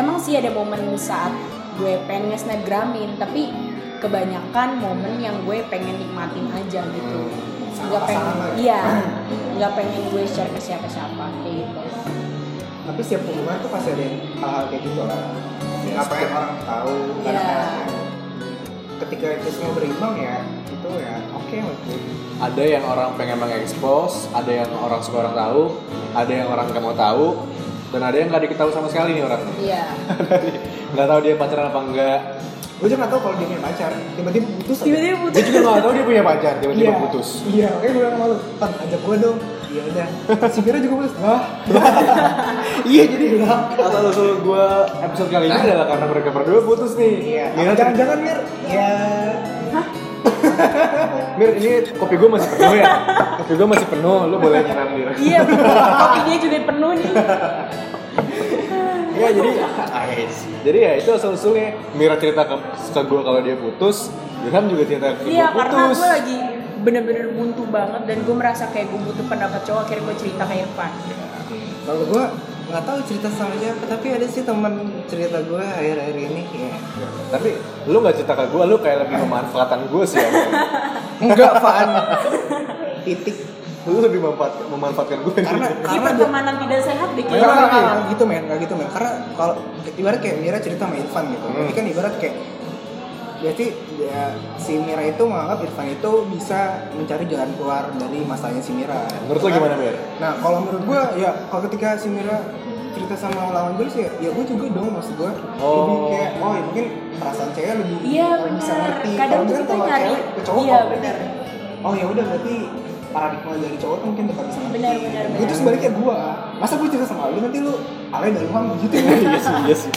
emang sih ada momen saat gue pengen snapgramin tapi kebanyakan momen yang gue pengen nikmatin aja gitu Hmm. Sama nggak pengen pasangan lah ya? iya nggak pengen gue share ke siapa-siapa kayak gitu tapi setiap hubungan tuh pasti ada yang hal-hal kayak gitu lah apa yang orang tahu Iya. kadang-kadang. ketika itu semua berimbang ya itu ya oke lah tuh. ada yang orang pengen mengekspos, ada yang orang suka orang tahu, ada yang orang nggak mau tahu, dan ada yang nggak diketahui sama sekali nih orangnya. Iya. nggak tahu dia pacaran apa enggak. gue juga nggak tahu kalau dia punya pacar tiba-tiba putus aja. Tiba-tiba Dia putus. juga nggak tahu dia punya pacar, tiba-tiba Iya. putus. iya makanya gue bilang sama lu pan ajak gue dong iya udah si Vira juga putus wah iya jadi asal usul gue episode kali ini adalah karena mereka berdua putus nih. iya Mira, Apa jangan-jangan Mir ya Mir ini kopi gue masih penuh ya. kopi gue masih penuh, lu boleh nyeram Mir. Iya, betul. kopi dia juga penuh nih. Iya jadi jadi ya itu asal usulnya Mira cerita ke, ke gue kalau dia putus, Ilham juga cerita ke Iya, gue karena putus. gue lagi bener-bener buntu banget dan gue merasa kayak gue butuh pendapat cowok akhirnya gue cerita ke Irfan. kalau gue nggak tahu cerita sama siapa tapi ada sih teman cerita gue akhir-akhir ini ya Tapi lu nggak cerita ke gue, lu kayak lebih memanfaatkan gue sih. Ya. enggak Fan titik lu lebih memanfaat- memanfaatkan gue. karena Ini karena gue pertemanan tidak sehat deh Enggak, enggak, enggak, kayaknya. enggak gitu men, enggak gitu men Karena kalau ibarat kayak Mira cerita sama Irfan gitu Berarti kan ibarat kayak Berarti ya, si Mira itu menganggap Irfan itu bisa mencari jalan keluar dari masalahnya si Mira Menurut lu gimana Mir? Nah kalau menurut gua ya kalau ketika si Mira cerita sama lawan gue sih ya, ya gue juga dong maksud gue Oh. lebih kayak oh ya mungkin perasaan cewek lebih Iya, kalau bisa bener. ngerti Kadang kalau tuh kan kita kalau nyari- cewek ke cowok iya, oh, bener. oh ya udah berarti paradigma dari cowok tuh mungkin bakal bisa ngerti Bener, bener, bener. itu sebaliknya gue masa gue cerita sama lu nanti lu alay dari uang gitu Iya sih, iya sih.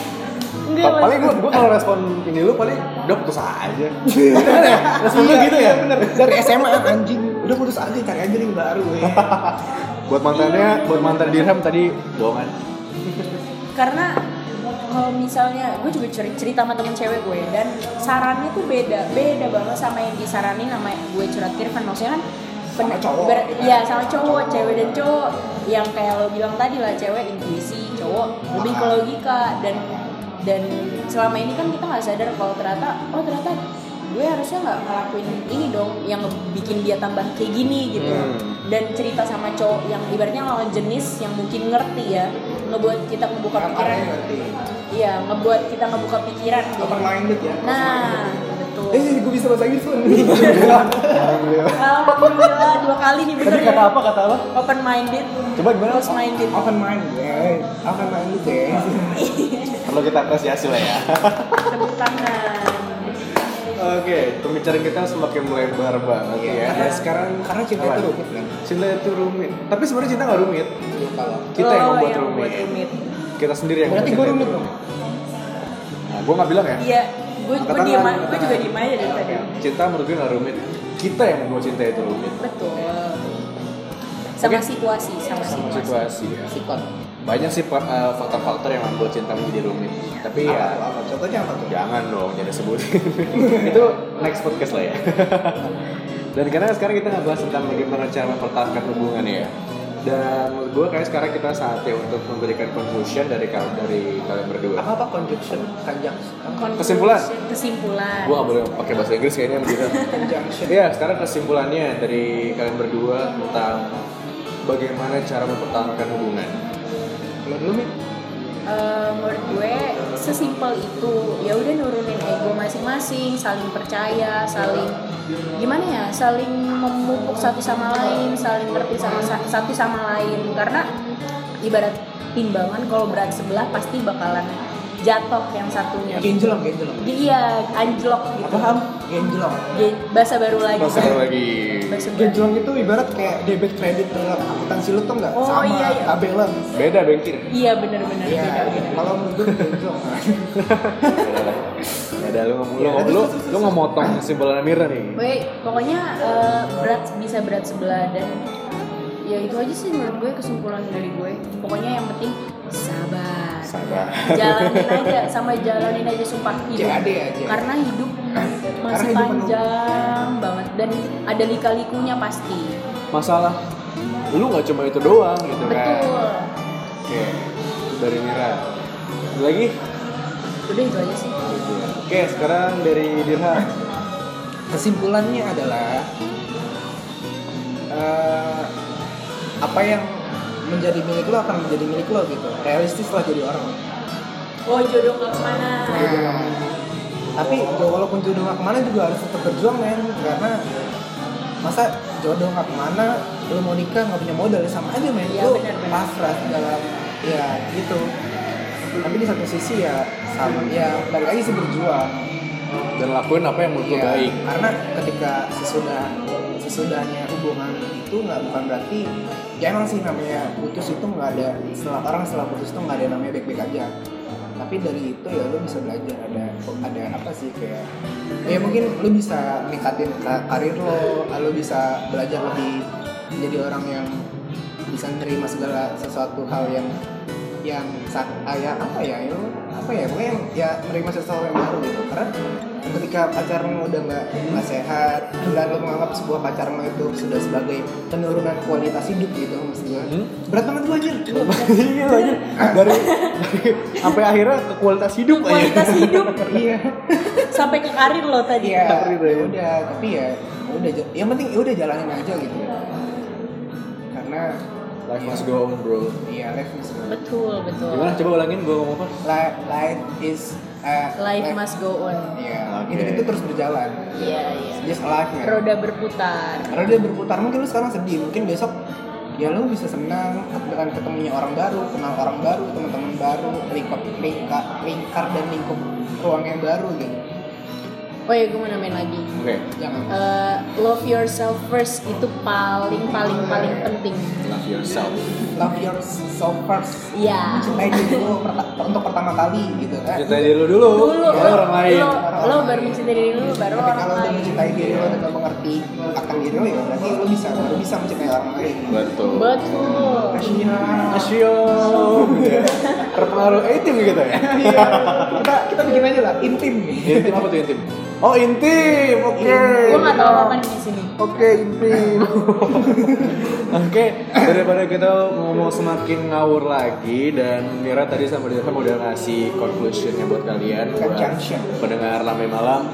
Enggak, Pa- Paling maksud- gue gue kalau respon ini lu paling udah putus aja. Bener ya? Respon lu Iya, gitu ya? iya, bener. Dari SMA anjing, udah putus aja cari aja yang baru ya. Buat mantannya, buat mantan Dirham tadi bohongan. karena kalau misalnya gue juga cer- cerita sama temen cewek gue dan sarannya tuh beda beda banget sama yang disaranin sama yang gue curhat ke Irfan maksudnya kan Sama pen- cowok, ber- gitu. iya sama cowok cewek dan cowok yang kayak lo bilang tadi lah cewek intuisi cowok lebih ke logika dan dan selama ini kan kita nggak sadar kalau ternyata oh ternyata gue harusnya nggak ngelakuin ini dong yang bikin dia tambah kayak gini gitu Hmm. dan cerita sama cowok yang ibaratnya lawan jenis yang mungkin ngerti ya ngebuat kita ngebuka Yang pikiran alay nanti. iya ngebuat kita ngebuka pikiran gitu. Open minded ya. nah betul Eh, gue bisa bahasa Inggris Fun. Iya. alhamdulillah dua kali nih bener Tadi ya kata apa kata apa? open minded Coba gimana? close minded Open minded, eh. open minded ya. Nah. Perlu kita apresiasi lah ya. tepuk tangan Oke, pembicaraan kita semakin melebar banget Iya, ya. karena sekarang karena cinta itu rumit kan. Cinta itu rumit. Tapi sebenarnya cinta nggak rumit. Iya kalau. Kita yang Lo membuat yang rumit. membuat rumit Kita sendiri yang Berarti membuat gue cinta rumit itu dong. Nah, gue nggak bilang ya. iya gue gue Angkat diem tangan, gue juga diem aja dari tadi Cinta menurut gue nggak rumit. Kita yang membuat cinta itu rumit. betul sama Oke. situasi sama Sama situasi situasi ya. Sikon. Banyak sih fa- eh, faktor-faktor yang membuat cinta menjadi rumit. Tapi Iya. ya Apa contohnya apa tuh? Jangan dong, jangan sebutin. itu next podcast lah ya. Dan karena sekarang kita ngebahas tentang bagaimana cara mempertahankan hubungan ya. Dan menurut gue kayak sekarang kita saatnya untuk memberikan conclusion dari kal- dari kalian berdua. Apa apa conjunction, conjunction, Kesimpulan. kesimpulan Gue gak boleh pakai bahasa Inggris kayaknya begitu. conjunction. ya sekarang kesimpulannya dari kalian berdua tentang bagaimana cara mempertahankan hubungan. Lo dulu mit. Eh, menurut gue sesimpel itu ya udah nurunin ego masing-masing saling percaya saling gimana ya saling memupuk satu sama lain saling ngerti sama sa- satu sama lain karena ibarat timbangan kalau berat sebelah pasti bakalan jatuh yang satunya Genjelong, genjelong. iya anjlok gitu Iya. Paham? Genjelong. Ge- bahasa baru lagi Masa lagi. Bahasa baru. Genjelong itu ibarat kayak debit kredit dalam akuntansi lu tuh nggak Oh, sama iya, iya. tabelan. Beda bengkir. iya bener-bener E Iya, beda, beda. kalau menurut gue genjelong. Ya udah, lu ngomong lu Ya, ngomong terus, lu, terus, lu ngomotong kesimpulan Mira nih. Weh, pokoknya eh, berat bisa berat sebelah dan ya itu aja sih menurut gue kesimpulan dari gue. Pokoknya yang penting sabar. Sabar. Jalanin aja sama jalanin aja sumpah hidup. JAD aja. Karena hidup masih hidup penuh. panjang banget dan ada lika-likunya pasti. masalah lu nggak cuma itu doang gitu kan Betul. oke itu dari Mira Ada lagi Udah itu aja sih. oke sekarang dari Dirham Kesimpulannya adalah eh, apa yang menjadi milik lo akan menjadi milik lo gitu realistis lah jadi orang oh jodoh nggak kemana Nah, tapi ya walaupun jodoh nggak kemana juga harus tetap berjuang men karena masa jodoh nggak kemana lu mau nikah nggak punya modal ya sama aja men Iya, lu benar-benar. pasrah dalam ya gitu tapi di satu sisi ya sama ya balik lagi sih berjuang dan lakuin apa yang menurut lo Iya, baik karena ketika sesudah sesudahnya hubungan itu nggak bukan berarti ya emang sih namanya putus itu nggak ada setelah orang setelah putus itu nggak ada yang namanya baik-baik aja tapi dari itu ya lu bisa belajar ada ada apa sih kayak ya mungkin lu bisa ningkatin ka- karir lo lu bisa belajar lebih menjadi orang yang bisa nerima segala sesuatu hal yang yang sak ya apa ya ya lu- apa ya pokoknya yang- ya menerima sesuatu yang baru gitu karena ketika pacar lo udah nggak nggak sehat dan lo menganggap sebuah pacar lo itu sudah sebagai penurunan kualitas hidup gitu maksud gue Hmm? berat banget gue anjir iya aja dari, dari sampai akhirnya ke kualitas hidup aja kualitas hidup iya sampai ke karir lo tadi iya Gitu ya. udah tapi ya udah ja- yang penting ya udah jalanin aja gitu karena ya, life must go on bro iya life must go on. betul betul gimana coba ulangin gue ngomong apa Li- life is uh, life must go on iya Oke. itu itu terus berjalan iya iya just life man roda berputar karena dia berputar mungkin lu sekarang sedih mungkin besok ya lu bisa senang dengan ketemunya orang baru kenal orang baru teman-teman baru lingkup lingkar lingkar dan lingkup ruang yang baru gitu oh ya gue mau nambahin lagi oke jangan Eh, love yourself first itu paling paling paling penting love yourself love yourself first iya cintai diri lu perta- untuk pertama kali gitu kan cintai diri lu dulu dulu lo, baru orang lain lo, lo baru mencintai diri lu baru Tapi orang kalau udah lain mencintai diri lo dan lo mengerti akan diri lo ya berarti lo bisa baru bisa mencintai orang lain betul betul Iya. Asyom Terpengaruh intim gitu ya Iya. kita kita bikin aja lah intim Intim apa tuh intim? Oh intim, oke gue gak tau apa di sini Oke intim Oke daripada kita ngomong semakin ngawur lagi Dan Mira tadi sama Dirham udah ngasih conclusionnya buat kalian Buat Conjunction. pendengar Lame Malam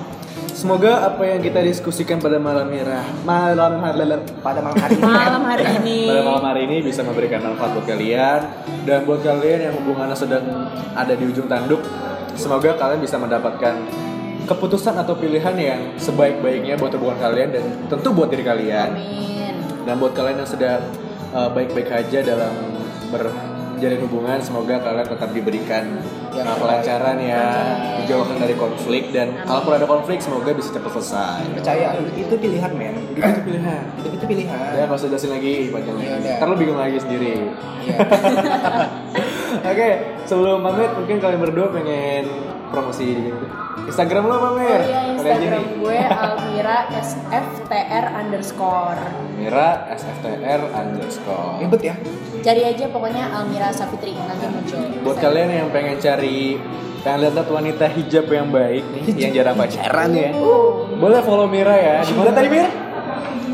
Semoga apa yang kita diskusikan pada malam Mira Malam malam pada malam hari ini malam hari ini pada malam hari ini bisa memberikan manfaat buat kalian dan buat kalian yang hubungannya sedang ada di ujung tanduk semoga kalian bisa mendapatkan keputusan atau pilihan yang sebaik-baiknya buat hubungan kalian dan tentu buat diri kalian amin dan buat kalian yang sedang uh, baik-baik aja dalam berjalin hubungan semoga kalian tetap diberikan Yang uh, kelancaran ya dijauhkan dari konflik dan Amin. Gitu kalaupun ada konflik semoga bisa cepat selesai percaya itu pilihan men itu pilihan itu itu pilihan ya harus jelasin lagi Iya, panjangnya Yaudah. ntar lu bingung lagi sendiri Iya. Oke, sebelum pamit mungkin kalian berdua pengen promosi gitu. Instagram lo apa, Oh Mir? iya Kali aja Instagram nih. gue Almira SFTR underscore Mira SFTR underscore. Ribet ya. Cari aja pokoknya Almira Safitri nanti muncul Buat kalian yang pengen cari pengen lihat wanita hijab yang baik nih, yang jarang pacaran ya. Uh. Boleh follow Mira ya. Di mana tadi Mir?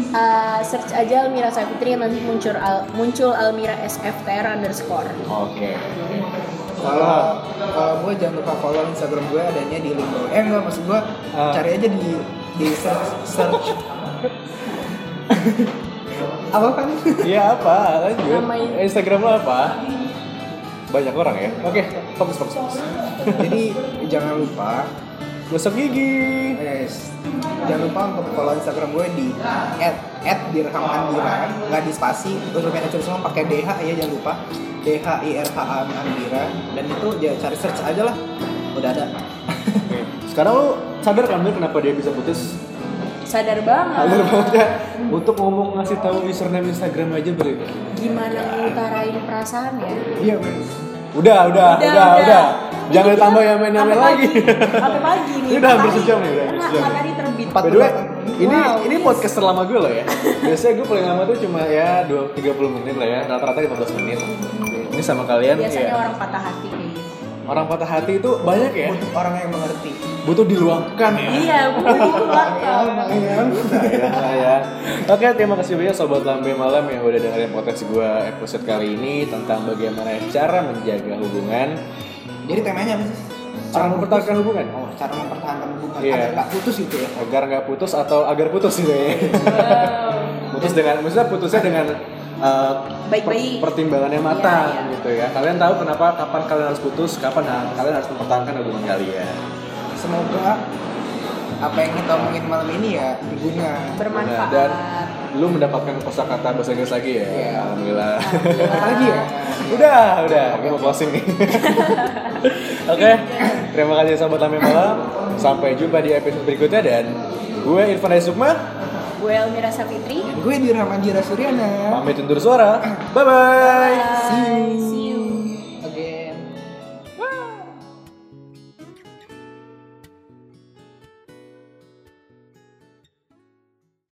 Eh, search aja Almira Safitri nanti muncul Al- muncul Almira SFTR underscore Oke. Kalau kalau gue jangan lupa follow Instagram gue adanya di link bawah. Eh enggak maksud gue Ah. cari aja di di search search. Apa kan? Iya apa? Lanjut. Namanya- Instagram lo apa? Banyak orang ya. Oke, fokus fokus fokus. Jadi jangan lupa Gosok gigi. guys, jangan lupa untuk follow Instagram gue di @dirhamandira nggak di spasi hurufnya kecil semua pakai DH ya jangan lupa D H I R H A M Andira dan itu ya cari search aja lah udah ada Oke. Sekarang lo sadar kan Mir kenapa dia bisa putus? sadar banget Agar banget ya. Untuk ngomong ngasih tahu username Instagram aja boleh. nggak? gimana ngutarain perasaan ya iya men Udah, udah, Ah, udah, udah. Jangan ditambah yang main-main lagi. Sampai pagi nih. Udah hampir Matahari- sejam nih, udah hampir Nah, sejam. ya. matahari terbit. By the way, ini Wow, ini podcast terlama gue loh ya. Biasanya gue paling lama tuh cuma ya 2 30 menit lah ya. Rata-rata 15 menit. Ini sama kalian Biasanya ya. orang patah hati nih. Orang patah hati itu banyak ya. untuk orang yang mengerti Butuh diluangkan ya. Iya, bukan itu lah. ya, ya. Oke, terima kasih banyak sobat Lambe Malam yang udah dengerin podcast gue episode kali ini tentang bagaimana cara menjaga hubungan, jadi temanya apa sih cara mempertahankan hubungan oh cara mempertahankan hubungan Iya. agar nggak putus gitu ya Iya. agar nggak putus atau agar putus gitu ya. putus dengan maksudnya putusnya dengan eh, Baik-baik. pertimbangannya matang Iya, iya. gitu ya. Kalian tahu kenapa kapan kalian harus putus, kapan ha- kalian harus mempertahankan hubungan kalian. Semoga apa yang kita omongin malam ini ya berguna. bermanfaat. Dan lu mendapatkan kosakata bahasa Inggris lagi ya. Iya. Alhamdulillah. Alhamdulillah. Apalagi ya? udah, udah. Aku mau closing nih. Oke, terima kasih sobat Lame Malam. Sampai jumpa di episode berikutnya dan gue Irfan Ais Sukma Gue Elmira Safitri. Dan gue di Ramanjira Suryana. pamit undur suara. Bye bye. Bye. See you.